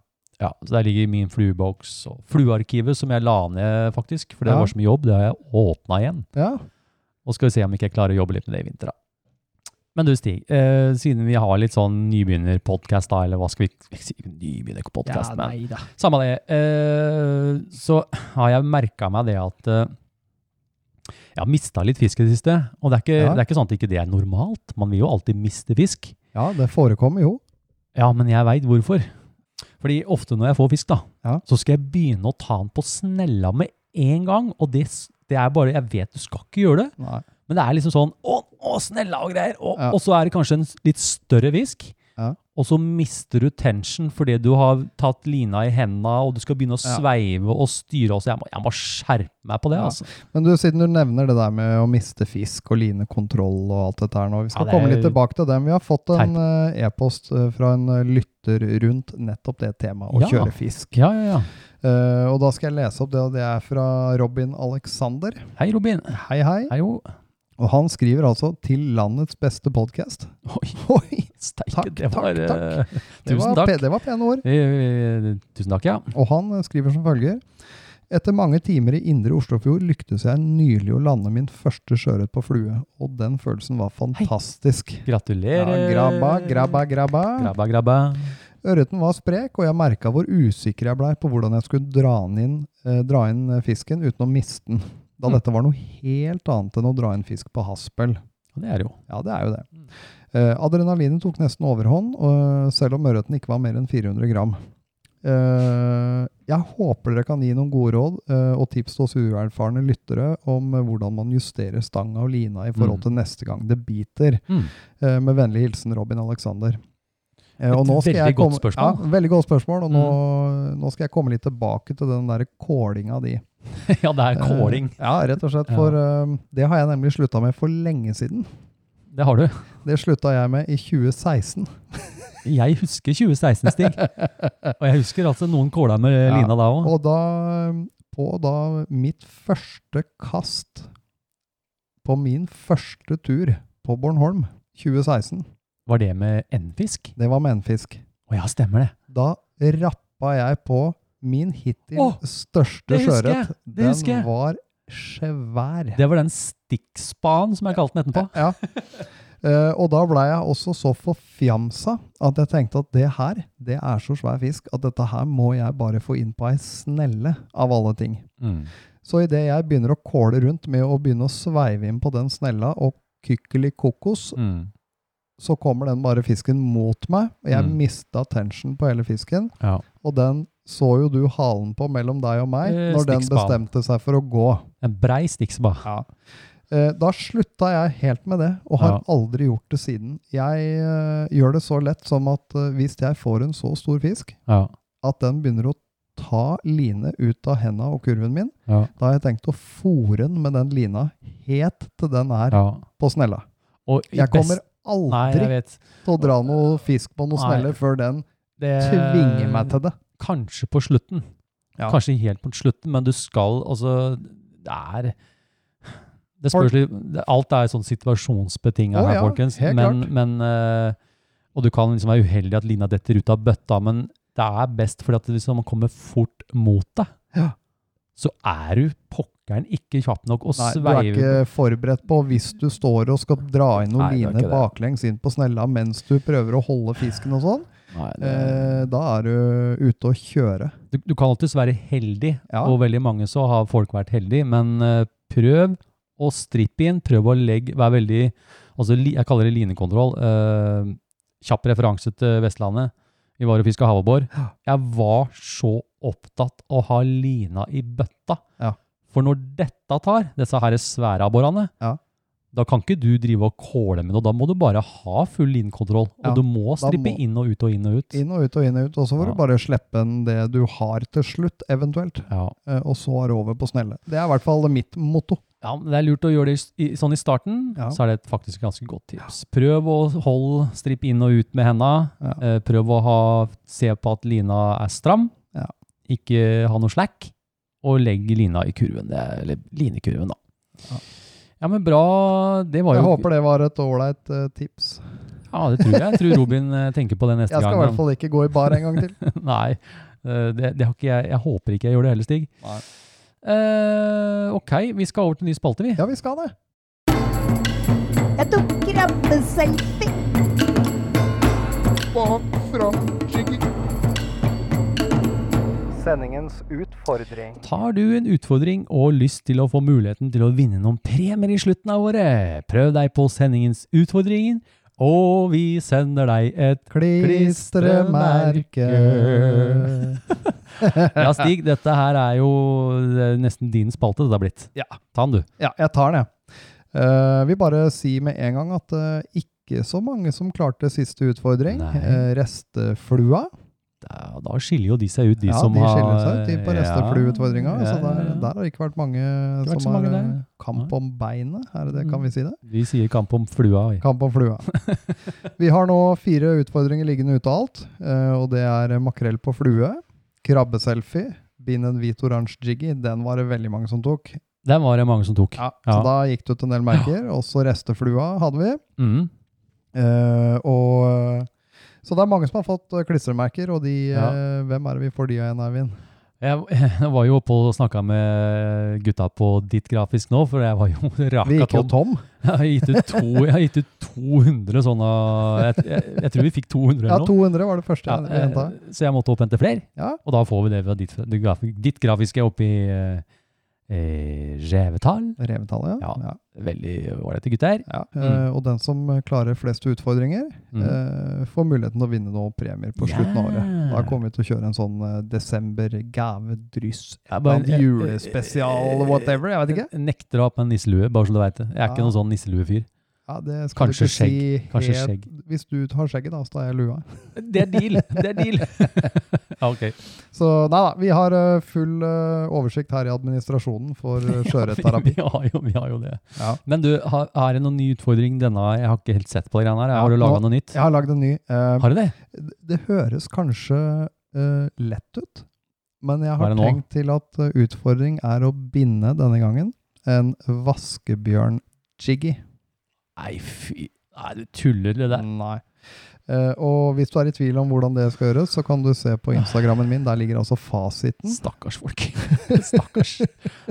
Speaker 5: Ja, så Der ligger min flueboks og fluearkivet, som jeg la ned, faktisk. For det
Speaker 6: Ja.
Speaker 5: var så mye jobb. Det har jeg åpna igjen.
Speaker 6: Ja.
Speaker 5: Og skal vi se om ikke jeg klarer å jobbe litt med det i vinter, da. Men du, Stig. Eh, siden vi har litt sånn nybegynnerpodkast, da, eller hva skal vi vi sier ikke Nybegynnerpodkast, men
Speaker 6: da.
Speaker 5: samme det. Eh, så har jeg merka meg det at eh, jeg har mista litt fisk i det siste. Og det er, ikke,
Speaker 6: Ja.
Speaker 5: det er ikke sånn at ikke det er normalt. Man vil jo alltid miste fisk.
Speaker 6: Ja, det forekommer jo.
Speaker 5: Ja, men jeg veit hvorfor. Fordi ofte når jeg får fisk, da,
Speaker 6: Ja.
Speaker 5: så skal jeg begynne å ta den på snella med en gang. Og det, s- det er bare Jeg vet du skal ikke gjøre det,
Speaker 6: Nei.
Speaker 5: men det er liksom sånn Å, å snella og greier. Og,
Speaker 6: Ja.
Speaker 5: og så er det kanskje en s- litt større fisk.
Speaker 6: Ja.
Speaker 5: Og så mister du tension fordi du har tatt lina i henda, og du skal begynne å
Speaker 6: Ja.
Speaker 5: sveive og styre. Og så jeg, må, jeg må skjerpe meg på det.
Speaker 6: Ja.
Speaker 5: altså.
Speaker 6: Men du, siden du nevner det der med å miste fisk og line kontroll og alt dette her nå, vi skal
Speaker 5: Ja, det er
Speaker 6: komme litt tilbake til dem. Vi har fått en eh, e-post eh, fra en eh, lytter rundt nettopp det temaet, å
Speaker 5: Ja.
Speaker 6: kjøre fisk.
Speaker 5: Ja, ja, ja.
Speaker 6: Eh, og da skal jeg lese opp det, og det er fra Robin Alexander.
Speaker 5: Hei, Robin.
Speaker 6: Hei, hei.
Speaker 5: Hei, jo.
Speaker 6: Og han skriver altså 'Til landets beste podkast'.
Speaker 5: Oi,
Speaker 6: Oi!
Speaker 5: steike.
Speaker 6: Takk,
Speaker 5: det var,
Speaker 6: takk, takk.
Speaker 5: eh,
Speaker 6: Det
Speaker 5: Tusen
Speaker 6: var,
Speaker 5: takk.
Speaker 6: pe- det var pene ord.
Speaker 5: Eh, eh, Tusen takk, ja.
Speaker 6: Og han eh, skriver som følger. Etter mange timer i indre Oslofjord lyktes jeg nylig å lande min første sjøørret på flue, og den følelsen var fantastisk. Ja,
Speaker 5: Gratulerer.
Speaker 6: grabba, grabba, grabba.
Speaker 5: Grabba, grabba.
Speaker 6: Ørreten var sprek, og jeg merka hvor usikker jeg blei på hvordan jeg skulle dra, den inn, eh, dra inn eh, fisken uten å miste den, da
Speaker 5: Mm.
Speaker 6: dette var noe helt annet enn å dra inn fisk på haspel.
Speaker 5: Og Det er det jo.
Speaker 6: Ja, det er jo det.
Speaker 5: Mm.
Speaker 6: Eh, adrenalinet tok nesten overhånd, og, eh, selv om ørreten ikke var mer enn 400 gram. Eh, jeg håper dere kan gi noen gode råd eh, og tips til oss uerfarne lyttere om eh, hvordan man justerer stanga og lina i forhold
Speaker 5: Mm.
Speaker 6: til neste gang det biter.
Speaker 5: Mm.
Speaker 6: Eh, med vennlig hilsen Robin Alexander. Eh, og
Speaker 5: Et
Speaker 6: nå skal
Speaker 5: veldig
Speaker 6: jeg
Speaker 5: godt
Speaker 6: komme-
Speaker 5: spørsmål. Mm.
Speaker 6: Ja, veldig godt spørsmål. Og nå, nå skal jeg komme litt tilbake til den der kålinga di.
Speaker 5: ja, det er kåling.
Speaker 6: Eh, ja, rett og slett.
Speaker 5: Ja.
Speaker 6: For eh, det har jeg nemlig slutta med for lenge siden.
Speaker 5: Det har du.
Speaker 6: Det slutta jeg med i 2016.
Speaker 5: Jeg husker 2016, Stig. Og jeg husker altså noen kåla med
Speaker 6: Ja.
Speaker 5: lina da òg.
Speaker 6: Og da eh, på da mitt første kast på min første tur på Bornholm 2016,
Speaker 5: Var det med N-fisk?
Speaker 6: det var med en fisk,
Speaker 5: Å ja, stemmer det.
Speaker 6: da rappa jeg på min hittil
Speaker 5: Åh,
Speaker 6: største
Speaker 5: det husker jeg,
Speaker 6: sjøørret.
Speaker 5: det
Speaker 6: Den
Speaker 5: husker jeg.
Speaker 6: var svær.
Speaker 5: Det var den stikkspanen som jeg kalte den etterpå.
Speaker 6: Ja. Eh, og da blei jeg også så forfjamsa at jeg tenkte at det her, det er så svær fisk at dette her må jeg bare få inn på ei snelle, av alle ting.
Speaker 5: Mm.
Speaker 6: Så idet jeg begynner å kåle rundt med å begynne å sveive inn på den snella og kykkeli kokos,
Speaker 5: Mm.
Speaker 6: så kommer den bare fisken mot meg, og jeg
Speaker 5: Mm.
Speaker 6: mista tension på hele fisken.
Speaker 5: Ja.
Speaker 6: Og den så jo du halen på mellom deg og meg
Speaker 5: Eh,
Speaker 6: når den
Speaker 5: stikkspan.
Speaker 6: bestemte seg for å gå.
Speaker 5: En brei stikkspa.
Speaker 6: Eh, da slutta jeg helt med det, og har
Speaker 5: Ja.
Speaker 6: aldri gjort det siden. Jeg eh, gjør det så lett som at eh, hvis jeg får en så stor fisk
Speaker 5: Ja.
Speaker 6: at den begynner å ta line ut av henda og kurven min,
Speaker 5: Ja.
Speaker 6: da har jeg tenkt å fòre den med den lina helt til den er
Speaker 5: ja.
Speaker 6: på snella.
Speaker 5: Og i
Speaker 6: Jeg kommer
Speaker 5: best- Nei,
Speaker 6: aldri
Speaker 5: jeg vet.
Speaker 6: til å dra noe fisk på noe
Speaker 5: Nei.
Speaker 6: snelle før den
Speaker 5: Det
Speaker 6: tvinger
Speaker 5: Eh,
Speaker 6: meg til det.
Speaker 5: kanskje på slutten.
Speaker 6: Ja.
Speaker 5: Kanskje helt på slutten, men du skal altså Det er det
Speaker 6: Folk-
Speaker 5: spørs litt, det- Alt er sånn situasjonsbetinga
Speaker 6: Å
Speaker 5: her,
Speaker 6: ja,
Speaker 5: folkens.
Speaker 6: helt
Speaker 5: Men, men eh, Og du kan liksom være uheldig at lina detter ut av bøtta, men det er best fordi at hvis man kommer fort mot deg,
Speaker 6: Ja.
Speaker 5: så er du pokker er den ikke kjapp nok å
Speaker 6: Nei, du er
Speaker 5: sveive
Speaker 6: ikke forberedt på hvis du står og skal dra inn
Speaker 1: Nei,
Speaker 6: noen
Speaker 1: du er ikke
Speaker 6: liner
Speaker 1: det.
Speaker 6: baklengs inn på snella mens du prøver å holde fisken og sånn.
Speaker 1: Nei, det,
Speaker 6: Eh, da er du ute å kjøre.
Speaker 5: du, du kan alltids være heldig,
Speaker 6: Ja.
Speaker 5: og veldig mange så har folk vært heldige, men eh, prøv å strippe inn, prøv å legge, være veldig, altså li, jeg kaller det linekontroll, eh, kjapp referanse til Vestlandet, vi var og fisket havabbor. Jeg var så opptatt av å ha lina i bøtta.
Speaker 6: Ja.
Speaker 5: For når dette tar, disse her svære abborene,
Speaker 6: Ja.
Speaker 5: da kan ikke du drive og kåle med noe, da må du bare ha full linkontroll, og
Speaker 6: Ja,
Speaker 5: du må
Speaker 6: da
Speaker 5: strippe
Speaker 6: må-
Speaker 5: inn og ut og inn og ut.
Speaker 6: Inn og ut og inn og ut, og så får
Speaker 5: Ja.
Speaker 6: du bare slippe den det du har til slutt, eventuelt.
Speaker 5: Ja.
Speaker 6: Eh, og så er det over på snelle. Det er i hvert fall mitt motto.
Speaker 5: Ja, men Det er lurt å gjøre det i, s- i, sånn i starten.
Speaker 6: Ja.
Speaker 5: Så er det et faktisk ganske godt tips. Prøv å holde stripp inn og ut med henda.
Speaker 6: Ja.
Speaker 5: Eh, prøv å ha, se på at lina er stram.
Speaker 6: Ja.
Speaker 5: Ikke ha noe slack. Og legg lina i kurven. Det er, eller linekurven, da.
Speaker 6: Ja.
Speaker 5: Ja. men bra. Det var
Speaker 6: Jeg
Speaker 5: jo
Speaker 6: håper det var et ålreit eh, tips.
Speaker 5: Ja, det tror jeg. Jeg tror Robin eh, tenker på det neste
Speaker 6: Jeg skal i
Speaker 5: gang.
Speaker 6: hvert fall ikke gå i bar en gang til.
Speaker 5: Nei, eh, det, det har ikke jeg. Jeg håper ikke jeg gjør det heller, Stig.
Speaker 6: Nei.
Speaker 5: Eh, ok, vi skal over til ny spalte, vi.
Speaker 6: Ja, vi skal det.
Speaker 7: Jeg tok krabbeselfie.
Speaker 4: Sendingens utfordring.
Speaker 5: Tar du en utfordring og lyst til å få muligheten til å vinne noen premier i slutten av året? Prøv deg på sendingens utfordringen, og vi sender deg et
Speaker 6: Klistremerke.
Speaker 5: Ja, Stig, dette her er jo det er nesten din spalte det har blitt.
Speaker 6: Ja.
Speaker 5: Ta den, du.
Speaker 6: Ja, jeg tar den, jeg. Eh, vi bare sier med en gang at eh, ikke så mange som klarte siste utfordring.
Speaker 5: Nei.
Speaker 6: Eh, resteflua.
Speaker 5: Da, da skiller jo de seg ut, de
Speaker 6: ja,
Speaker 5: som
Speaker 6: de
Speaker 5: har
Speaker 6: skiller seg ut de på
Speaker 5: Ja,
Speaker 6: resteflueutfordringa. så
Speaker 5: ja,
Speaker 6: der,
Speaker 5: ja, ja.
Speaker 6: der har altså, det ikke vært mange
Speaker 5: vært så
Speaker 6: som har
Speaker 5: mange
Speaker 6: eh,
Speaker 5: der.
Speaker 6: kamp
Speaker 5: Nei.
Speaker 6: om beinet. Er det det, kan
Speaker 5: Mm.
Speaker 6: vi si det?
Speaker 5: Vi sier kamp om flua. vi.
Speaker 6: Kamp om flua. Vi har nå fire utfordringer liggende ute av alt, eh, og det er makrell på flue, krabbeselfie, bind en hvit oransje jiggy, den var det veldig mange som tok.
Speaker 5: Den var det mange som tok.
Speaker 6: Så
Speaker 5: Ja.
Speaker 6: da gikk det ut en del merker, også resteflua hadde vi.
Speaker 5: Mm.
Speaker 6: Eh, og, eh, så det er mange som har fått eh, klistremerker, og de, eh,
Speaker 5: Ja.
Speaker 6: hvem er det vi får de av igjen, Eivind?
Speaker 5: Jeg, jeg var jo oppe og snakka med gutta på ditt grafisk nå, for jeg var jo
Speaker 6: Vi
Speaker 5: raka
Speaker 6: gikk jo
Speaker 5: tom.
Speaker 6: tom.
Speaker 5: Jeg har gitt ut, to, jeg har gitt ut 200 sånne jeg, jeg, jeg tror vi fikk 200
Speaker 6: Ja,
Speaker 5: eller noe.
Speaker 6: 200 var det første
Speaker 5: Ja, eh,
Speaker 6: jeg henta.
Speaker 5: så jeg måtte opp og hente flere.
Speaker 6: Ja.
Speaker 5: Og da får vi det fra ditt, det graf- ditt grafiske oppi eh, eh, Revetal.
Speaker 6: Revetallet, ja.
Speaker 5: Ja.
Speaker 6: ja.
Speaker 5: Veldig ålreite gutter.
Speaker 6: ja. Eh, og den som klarer flest utfordringer,
Speaker 5: Mm.
Speaker 6: eh, får muligheten til å vinne noen premier på slutten av året.
Speaker 5: Ja.
Speaker 6: Da kommer vi til å kjøre en sånn eh, desember-gavedryss.
Speaker 5: Jeg eh,
Speaker 6: Blant julespesial, whatever, jeg vet ikke.
Speaker 5: Nekter å ha på meg nisselue, bare så du veit det. Jeg er
Speaker 6: Ja.
Speaker 5: ikke noen sånn nisseluefyr.
Speaker 6: Ja, det skal
Speaker 5: Kanskje
Speaker 6: vi ikke si
Speaker 5: Kanskje
Speaker 6: helt-
Speaker 5: skjegg.
Speaker 6: Hvis du har skjegget, da, så tar jeg lua.
Speaker 5: Det er deal! Det er deal! Ja, ok.
Speaker 6: Så nei da, vi har eh, full eh, oversikt her i administrasjonen for eh, sjøørretterapi.
Speaker 5: Vi, har jo- vi har jo det.
Speaker 6: Ja.
Speaker 5: Men du, har, er det noen ny utfordring denne? Jeg har ikke helt sett på det greiene her. Har du
Speaker 6: Ja,
Speaker 5: laga
Speaker 6: nå-
Speaker 5: noe nytt?
Speaker 6: Jeg har lagd en ny. eh,
Speaker 5: Har du det?
Speaker 6: det- det høres kanskje eh, lett ut, men jeg
Speaker 5: Hva
Speaker 6: har
Speaker 5: er det nå?
Speaker 6: tenkt til at eh, utfordring er å binde denne gangen en vaskebjørn-jiggy.
Speaker 5: Nei, fy Nei, du tuller det der.
Speaker 6: Nei. Eh, og hvis du er i tvil om hvordan det skal gjøres, så kan du se på Instagrammen min. Der ligger altså fasiten.
Speaker 5: Stakkars folk. Stakkars.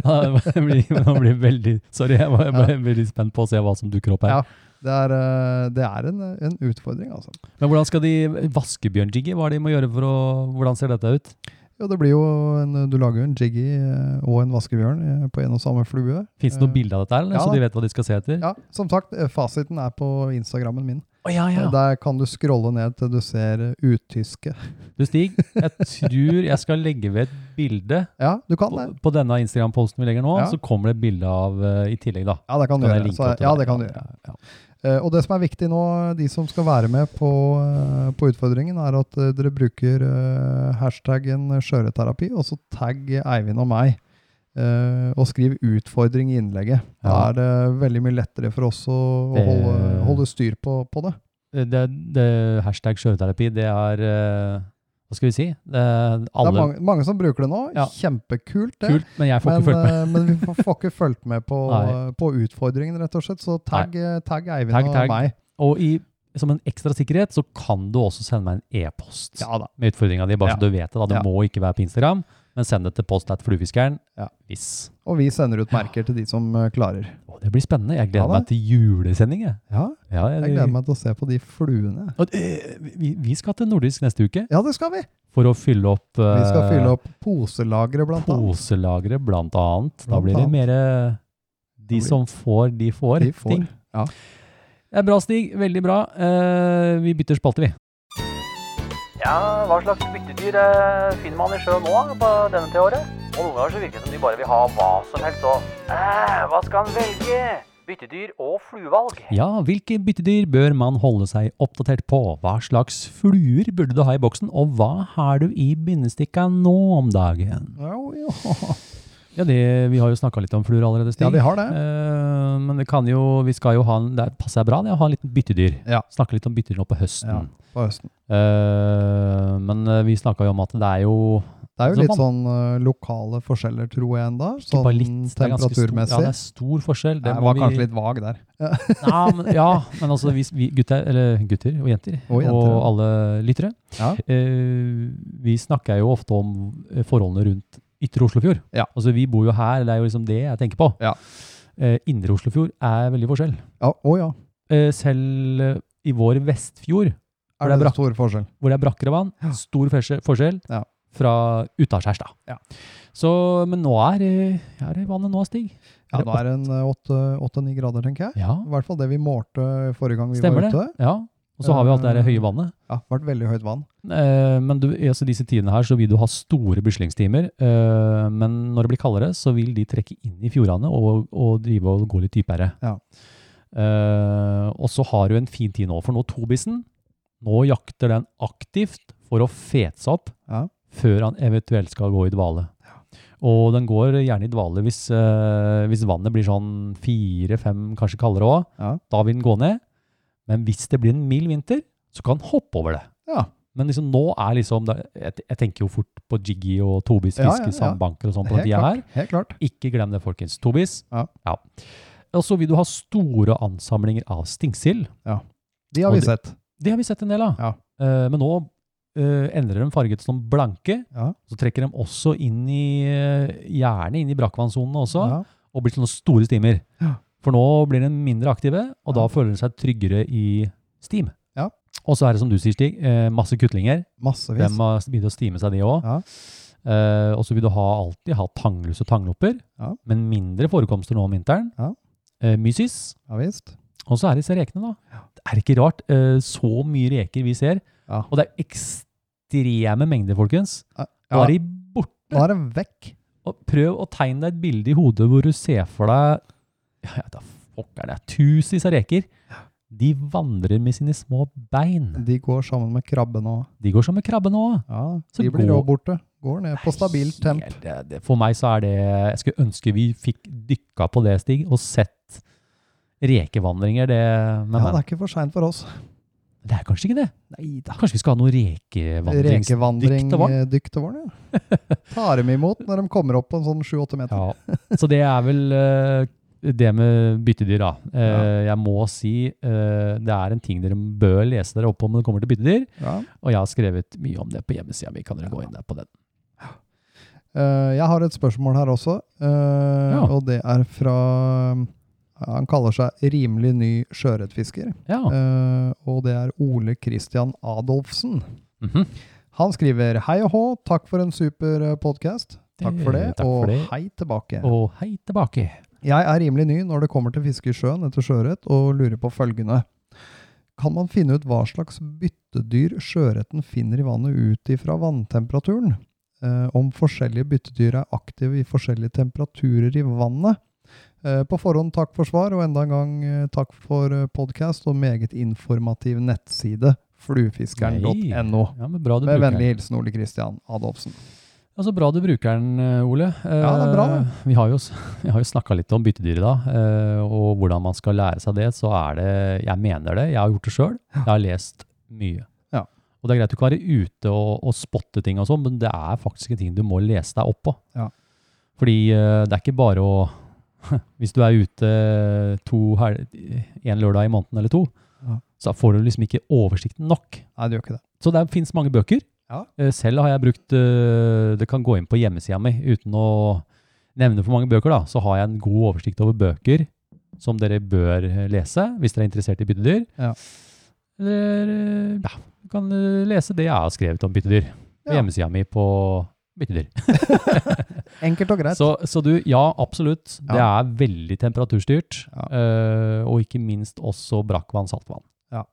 Speaker 5: Ja, Jeg blir, jeg blir veldig Sorry, jeg var jeg ble veldig spent på å se hva som dukker opp her.
Speaker 6: Ja. Det er, eh, det er en, en utfordring, altså.
Speaker 5: Men hvordan skal de vaskebjørnjigge? Hva er det de må gjøre for å Hvordan ser dette ut?
Speaker 6: Jo, det blir jo en, du lager jo en jiggy eh, og en vaskebjørn eh, på en og samme flue.
Speaker 5: Fins det noe
Speaker 6: Eh,
Speaker 5: bilde av dette, her, eller?
Speaker 6: ja
Speaker 5: så
Speaker 6: da.
Speaker 5: de vet hva de skal se etter?
Speaker 6: Ja, som sagt, eh, fasiten er på Instagrammen min. Eh,
Speaker 5: Å, ja, ja.
Speaker 6: Der kan du scrolle ned til du ser eh, uttyske.
Speaker 5: Du, Stig, jeg tror jeg skal legge ved et bilde
Speaker 6: Ja, du kan
Speaker 5: på,
Speaker 6: det.
Speaker 5: på denne Instagram-posten vi legger nå.
Speaker 6: Ja.
Speaker 5: Så kommer det et bilde av eh, i tillegg, da.
Speaker 6: Ja, det kan du
Speaker 5: Kan jeg
Speaker 6: gjøre.
Speaker 5: linke
Speaker 6: Så,
Speaker 5: opp til
Speaker 6: ja,
Speaker 5: det?
Speaker 6: det kan du gjøre.
Speaker 5: Ja,
Speaker 6: Eh, Og det som er viktig nå, de som skal være med på, eh, på utfordringen, er at eh, dere bruker eh, hashtaggen skjøreterapi, og så tagg Eivind og meg. eh, og skriv 'utfordring' i innlegget. Da
Speaker 5: Ja.
Speaker 6: er det veldig mye lettere for oss å, å
Speaker 5: Det-
Speaker 6: holde, holde styr på, på det.
Speaker 5: det, det, hashtag sjøterapi, det er eh, Hva skal vi si? Det er
Speaker 6: Det er
Speaker 5: alle
Speaker 6: mange, mange som bruker det nå.
Speaker 5: Ja.
Speaker 6: Kjempekult, det.
Speaker 5: Kult, men jeg får
Speaker 6: Men,
Speaker 5: ikke fulgt med.
Speaker 6: eh, men vi får, får ikke fulgt med på,
Speaker 5: Nei.
Speaker 6: på utfordringen, rett og slett. Så tagg, eh, tagg Eivind
Speaker 5: Tagg,
Speaker 6: og
Speaker 5: tagg.
Speaker 6: meg.
Speaker 5: Og i, som en ekstra sikkerhet så kan du også sende meg en e-post
Speaker 6: Ja da.
Speaker 5: med utfordringa di, bare
Speaker 6: Ja.
Speaker 5: så du vet det. da. Det
Speaker 6: Ja.
Speaker 5: må ikke være på Instagram. Men send det til post.fluefiskeren
Speaker 6: Ja.
Speaker 5: hvis.
Speaker 6: Og vi sender ut merker til de som eh, klarer.
Speaker 5: Å, det blir spennende. Jeg gleder
Speaker 6: Ja da.
Speaker 5: meg til julesending. Jeg.
Speaker 6: Ja,
Speaker 5: Ja,
Speaker 6: jeg gleder meg til å se på de fluene.
Speaker 5: Og, eh, vi, vi skal til nordisk neste uke
Speaker 6: Ja, det skal vi!
Speaker 5: for å fylle opp, eh,
Speaker 6: Vi skal fylle opp poselageret, blant annet.
Speaker 5: poselageret, blant annet. Da
Speaker 6: Blant
Speaker 5: blir det
Speaker 6: annet.
Speaker 5: mer eh, De
Speaker 6: blir-
Speaker 5: som får, de får.
Speaker 6: De får,
Speaker 5: ting.
Speaker 6: ja.
Speaker 5: Det er bra, Stig. Veldig bra. Eh, vi bytter spalte, vi.
Speaker 2: Ja, hva slags byttedyr eh, finner man i sjøen nå eh, på denne til året? Og noen ganger så virker det som de bare vil ha hva som helst og eh, Hva skal en velge? Byttedyr og fluevalg.
Speaker 5: Ja, hvilke byttedyr bør man holde seg oppdatert på? Hva slags fluer burde du ha i boksen, og hva har du i bindestikka nå om dagen?
Speaker 6: Jo, jo.
Speaker 5: Ja, det, Vi har jo snakka litt om fluer allerede, Stig.
Speaker 6: Ja, vi har det.
Speaker 5: Eh, men vi kan jo, vi skal jo ha en, det passer bra det å ha en liten byttedyr.
Speaker 6: Ja.
Speaker 5: Snakke litt om byttedyr nå på
Speaker 6: Ja,
Speaker 5: høsten.
Speaker 6: på høsten.
Speaker 5: Eh, men eh, vi snakka jo om at det er jo
Speaker 6: Det er jo
Speaker 5: Så
Speaker 6: litt
Speaker 5: man-
Speaker 6: sånn eh, lokale forskjeller, tror jeg enda. Sånn
Speaker 5: bare litt, det er ganske Stor, ja,
Speaker 6: temperaturmessig.
Speaker 5: det er stor forskjell.
Speaker 6: det var kanskje litt vag der.
Speaker 5: Ja, men, ja, men altså hvis vi gutter, eller gutter og jenter,
Speaker 6: Og
Speaker 5: og,
Speaker 6: jenter, ja.
Speaker 5: alle lyttere,
Speaker 6: Ja.
Speaker 5: eh, vi snakker jo ofte om eh, forholdene rundt Ytre Oslofjord.
Speaker 6: Ja.
Speaker 5: Altså vi bor jo her, det er jo liksom det jeg tenker på.
Speaker 6: Ja.
Speaker 5: Eh, Indre Oslofjord er veldig forskjell.
Speaker 6: Ja, å ja.
Speaker 5: Eh, selv eh, i vår Vestfjord,
Speaker 6: Er
Speaker 5: det
Speaker 6: det,
Speaker 5: er bra.
Speaker 6: stor forskjell?
Speaker 5: hvor det er brakkere vann, stor forskjell, forskjell
Speaker 6: Ja.
Speaker 5: fra utaskjærs da.
Speaker 6: Ja.
Speaker 5: Så, men nå er, eh, her er vannet nå, Stig.
Speaker 6: Ja, nå er det en eh, åtte- åtte-ni grader, tenker jeg.
Speaker 5: Ja,
Speaker 6: I hvert fall det vi målte eh, forrige gang vi
Speaker 5: stemmer
Speaker 6: var
Speaker 5: det.
Speaker 6: ute.
Speaker 5: Ja, og så har vi alt det der
Speaker 6: Eh,
Speaker 5: høye vannet.
Speaker 6: Ja, det vært veldig høyt vann.
Speaker 5: Eh, men du, i altså disse tidene her så vil du ha store buslingstimer, eh, men når det blir kaldere, så vil de trekke inn i fjordene og, og drive og gå litt dypere.
Speaker 6: Ja.
Speaker 5: Eh, og så har du en fin tid nå, for nå tobissen, nå jakter den aktivt for å fete seg opp
Speaker 6: Ja.
Speaker 5: før han eventuelt skal gå i dvale. Og den går gjerne i dvale hvis, eh, hvis vannet blir sånn fire-fem, kanskje kaldere òg.
Speaker 6: Ja.
Speaker 5: Da vil den gå ned. Men hvis det blir en mild vinter, så kan den hoppe over det.
Speaker 6: Ja.
Speaker 5: Men liksom nå er liksom det, jeg, jeg tenker jo fort på jiggy og tobis
Speaker 6: Ja, ja,
Speaker 5: fiske,
Speaker 6: ja.
Speaker 5: sandbanker og sånn på
Speaker 6: Helt
Speaker 5: den tida her.
Speaker 6: klart. Helt klart.
Speaker 5: Ikke glem det, folkens. Tobis.
Speaker 6: Ja.
Speaker 5: Og så vil du ha store ansamlinger av stingsild.
Speaker 6: De har
Speaker 5: Og
Speaker 6: vi
Speaker 5: det-
Speaker 6: sett.
Speaker 5: Det har vi sett en del av.
Speaker 6: Ja.
Speaker 5: Eh, men nå eh, endrer de farget som blanke.
Speaker 6: Ja.
Speaker 5: Så trekker de også inn i, eh, gjerne inn i brakkvannsonene også,
Speaker 6: Ja.
Speaker 5: og blir sånne store stimer.
Speaker 6: Ja.
Speaker 5: For nå blir de mindre aktive, og da
Speaker 6: Ja.
Speaker 5: føler de seg tryggere i stim.
Speaker 6: Ja.
Speaker 5: Og så er det som du sier, Stig, eh, masse kutlinger. De
Speaker 6: Massevis.
Speaker 5: har begynt å stime seg, de òg.
Speaker 6: Ja.
Speaker 5: Eh, og så vil du ha, alltid ha tanglus og tanglopper,
Speaker 6: Ja.
Speaker 5: men mindre forekomster nå om vinteren.
Speaker 6: Ja.
Speaker 5: Eh, mysis.
Speaker 6: Ja visst.
Speaker 5: Og så er disse rekene, da. Det er ikke rart. eh, så mye reker vi ser.
Speaker 6: Ja.
Speaker 5: Og det er ekstreme mengder, folkens.
Speaker 6: Ja.
Speaker 5: Nå er de borte.
Speaker 6: Nå er de vekk.
Speaker 5: Og Prøv å tegne deg et bilde i hodet hvor du ser for deg ja, ja, da fucker det er tusenvis av reker. De vandrer med sine små bein.
Speaker 6: De går sammen med krabben og
Speaker 5: De går som en krabbe nå.
Speaker 6: ja,
Speaker 5: Så
Speaker 6: De blir
Speaker 5: går-
Speaker 6: òg borte. Går ned på stabilt temp.
Speaker 5: Helt, det- det- For meg så er det Jeg skulle ønske vi fikk dykka på det, Stig, og sett rekevandringer. Det, men,
Speaker 6: Ja, det
Speaker 5: men,
Speaker 6: er ikke for seint for oss.
Speaker 5: det er kanskje ikke det. Kanskje vi skal ha noe rekevandrings...
Speaker 6: Rekevandring
Speaker 5: dykte våren.
Speaker 6: eh, dykte våren, ja. Tar dem imot når de kommer opp på en sånn sju-åtte meter.
Speaker 5: Ja. Så det er vel eh, det med byttedyr, da. Eh, Jeg må si eh, det er en ting dere bør lese dere opp om når det kommer til byttedyr.
Speaker 6: Ja.
Speaker 5: Og jeg har skrevet mye om det på hjemmesida mi. Kan dere gå inn der på den?
Speaker 6: Eh, jeg har et spørsmål her også, eh,
Speaker 5: Ja.
Speaker 6: og det er fra eh, Han kaller seg rimelig ny sjøørretfisker,
Speaker 5: Ja.
Speaker 6: eh, og det er Ole Christian Adolfsen.
Speaker 5: Mhm.
Speaker 6: Han skriver hei og hå, takk for en super eh, podcast. Takk for det,
Speaker 5: Eh, takk for
Speaker 6: og
Speaker 5: det.
Speaker 6: hei tilbake.
Speaker 5: Og hei tilbake.
Speaker 6: Jeg er rimelig ny når det kommer til fiske i sjøen etter sjøørret, og lurer på følgende. Kan man finne ut hva slags byttedyr sjøørreten finner i vannet ut ifra vanntemperaturen? Eh, om forskjellige byttedyr er aktive i forskjellige temperaturer i vannet? Eh, på forhånd takk for svar, og enda en gang eh, takk for eh, podcast og meget informativ nettside, fluefiskeren.no.
Speaker 5: Ja, men bra du
Speaker 6: Med
Speaker 5: bruker den.
Speaker 6: vennlig hilsen Ole Christian Adolfsen.
Speaker 5: Ja, så bra du bruker den, eh, Ole.
Speaker 6: Ja, det er bra, det.
Speaker 5: Eh, Vi har jo, s- vi har jo snakka litt om byttedyr i dag, eh, og hvordan man skal lære seg det. Så er det Jeg mener det. Jeg har gjort det sjøl. Jeg har lest mye.
Speaker 6: Ja.
Speaker 5: Og det er greit du kan være ute og, og spotte ting og sånn, men det er faktisk en ting du må lese deg opp på.
Speaker 6: Ja.
Speaker 5: Fordi eh, det er ikke bare å Hvis du er ute eh, to hel- en lørdag i måneden eller to,
Speaker 6: Ja.
Speaker 5: så får du liksom ikke oversikten nok.
Speaker 6: Nei, det gjør ikke det.
Speaker 5: Så det fins mange bøker.
Speaker 6: Ja.
Speaker 5: Eh, Selv har jeg brukt eh, Det kan gå inn på hjemmesida mi uten å nevne for mange bøker, da. Så har jeg en god oversikt over bøker som dere bør eh, lese hvis dere er interessert i byttedyr.
Speaker 6: Ja.
Speaker 5: Eller eh, ja, du kan eh, lese det jeg har skrevet om byttedyr på
Speaker 6: Ja.
Speaker 5: hjemmesida mi på byttedyr.
Speaker 6: Enkelt og greit.
Speaker 5: Så, så du, ja, absolutt. Det
Speaker 6: Ja.
Speaker 5: er veldig temperaturstyrt.
Speaker 6: Ja.
Speaker 5: eh, og ikke minst også brakkvann, saltvann.
Speaker 6: Ja.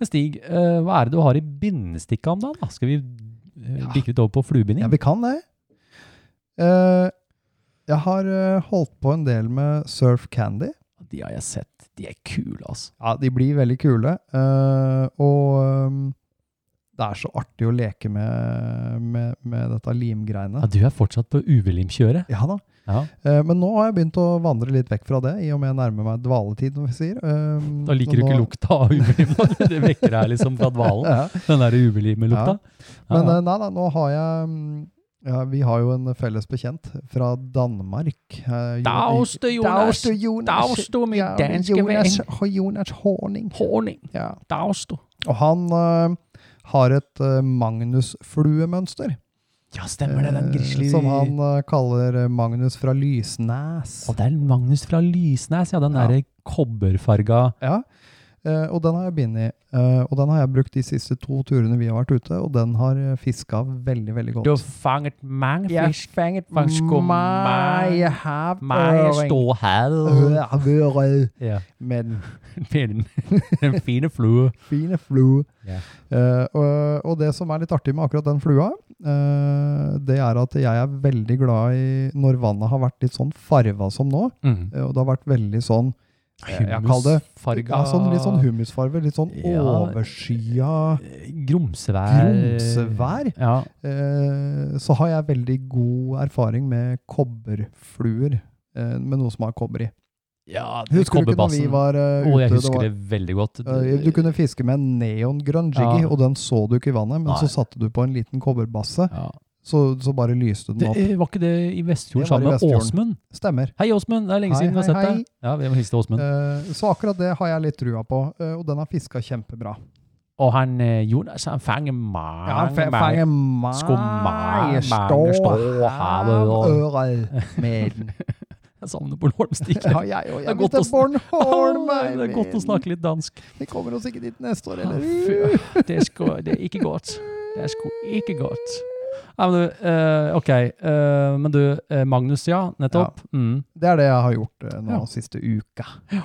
Speaker 5: Men Stig, eh, hva er det du har i bindestikka om dagen? da? Skal vi eh,
Speaker 6: Ja.
Speaker 5: bikke litt over på fluebinding?
Speaker 6: Ja, vi kan det. Eh, jeg har eh, holdt på en del med Surf Candy.
Speaker 5: De har jeg sett. De er kule, altså.
Speaker 6: Ja, de blir veldig kule. eh, og ehm, det er så artig å leke med, med, med dette limgreiene.
Speaker 5: Ja, du er fortsatt på UV-limkjøret.
Speaker 6: Ja da.
Speaker 5: Ja.
Speaker 6: Eh, men nå har jeg begynt å vandre litt vekk fra det, i og med jeg nærmer meg dvaletid, som vi sier. Ehm,
Speaker 5: Da liker
Speaker 6: så
Speaker 5: du ikke
Speaker 6: nå-
Speaker 5: lukta av UV-lim. når Det vekker deg liksom fra dvalen.
Speaker 6: Ja.
Speaker 5: Den der UV-limelukta.
Speaker 6: Men eh, nei da, nå har jeg mm, ja, Vi har jo en felles bekjent fra Danmark. eh, Jo-
Speaker 1: Dauste, Jonas.
Speaker 6: Dauste, Jonas.
Speaker 1: Dauste, min
Speaker 6: Ja,
Speaker 1: danske
Speaker 6: Jonas,
Speaker 1: venn.
Speaker 6: Jonas Horning.
Speaker 1: Horning.
Speaker 6: Ja.
Speaker 1: Dauste.
Speaker 6: Og han eh, har et eh, Magnus-fluemønster.
Speaker 5: Ja, stemmer det. Den
Speaker 6: eh,
Speaker 5: grizzly...
Speaker 6: Som han eh, kaller eh, Magnus fra Lysnæs.
Speaker 5: Og det er Magnus fra Lysnes, ja. Den
Speaker 6: Ja.
Speaker 5: derre kobberfarga
Speaker 6: Ja. Eh, og den har jeg bindet i. Eh, og den har jeg brukt de siste to turene vi har vært ute, og den har eh, fiska veldig, veldig
Speaker 1: Du har
Speaker 6: godt.
Speaker 1: fanget mange
Speaker 6: Jeg
Speaker 1: fisk.
Speaker 6: fanget
Speaker 1: Faktisk om meg.
Speaker 6: have
Speaker 1: Meg
Speaker 6: Øh,
Speaker 1: står her.
Speaker 6: Været
Speaker 5: Ja.
Speaker 6: øh, med den
Speaker 5: Med den- den fine flue.
Speaker 6: fine flue.
Speaker 5: Ja.
Speaker 6: Eh, og, og det som er litt artig med akkurat den flua, eh, det er at jeg er veldig glad i når vannet har vært litt sånn farva som nå.
Speaker 5: Mm.
Speaker 6: eh, og det har vært veldig sånn eh, jeg kaller det
Speaker 5: Humusfarga
Speaker 6: ja, sånn, Litt sånn humusfarve. Litt sånn
Speaker 5: Ja.
Speaker 6: overskya
Speaker 5: Grumsevær.
Speaker 6: grumsevær.
Speaker 5: Ja.
Speaker 6: Eh, så har jeg veldig god erfaring med kobberfluer. eh, Med noe som har kobber i.
Speaker 5: ja det-
Speaker 6: Husker du ikke når vi
Speaker 5: kobberbassen.
Speaker 6: var
Speaker 5: Å,
Speaker 6: eh,
Speaker 5: jeg
Speaker 6: ute? det
Speaker 5: husker
Speaker 6: var,
Speaker 5: det veldig godt.
Speaker 6: Eh, Du kunne fiske med en neongrønn jiggy,
Speaker 5: Ja.
Speaker 6: og den så du ikke i vannet, men
Speaker 5: Nei.
Speaker 6: så satte du på en liten kobberbasse,
Speaker 5: ja.
Speaker 6: så, så bare lyste den
Speaker 5: det,
Speaker 6: opp.
Speaker 5: eh, Var ikke det i Vestfjorden
Speaker 6: Det var i
Speaker 5: sammen med
Speaker 6: Vestfjorden.
Speaker 5: Åsmund?
Speaker 6: Stemmer.
Speaker 5: Hei, Åsmund! Det er lenge
Speaker 6: Hei,
Speaker 5: siden vi har
Speaker 6: hei,
Speaker 5: sett
Speaker 6: hei.
Speaker 5: deg. Ja, vi må hilse til Åsmund.
Speaker 6: Eh, Så akkurat det har jeg litt trua på, eh, og den har fiska kjempebra.
Speaker 5: Og han eh, Jonas, han fanger mange,
Speaker 6: Ja, fe-
Speaker 5: mange
Speaker 6: fange meg,
Speaker 5: Skumma- mange
Speaker 6: stå
Speaker 5: står
Speaker 6: her
Speaker 5: havet og-
Speaker 6: øret med den.
Speaker 5: Jeg savner Bornholm, Stig.
Speaker 6: Ja, jeg og
Speaker 5: er
Speaker 6: jeg
Speaker 5: godt
Speaker 6: vil til
Speaker 5: å
Speaker 6: Bornholm,
Speaker 5: Åh, det er godt å snakke litt dansk.
Speaker 6: Vi kommer oss ikke dit neste år,
Speaker 5: Ja,
Speaker 6: eller?
Speaker 5: fy, Det er, sko, det er ikke godt. Det er sko ikke godt. Nei, men du, eh, ok. eh, men du, eh, Magnus, ja, nettopp. Mm.
Speaker 6: Det er det jeg har gjort eh, nå
Speaker 5: Ja.
Speaker 6: siste uka.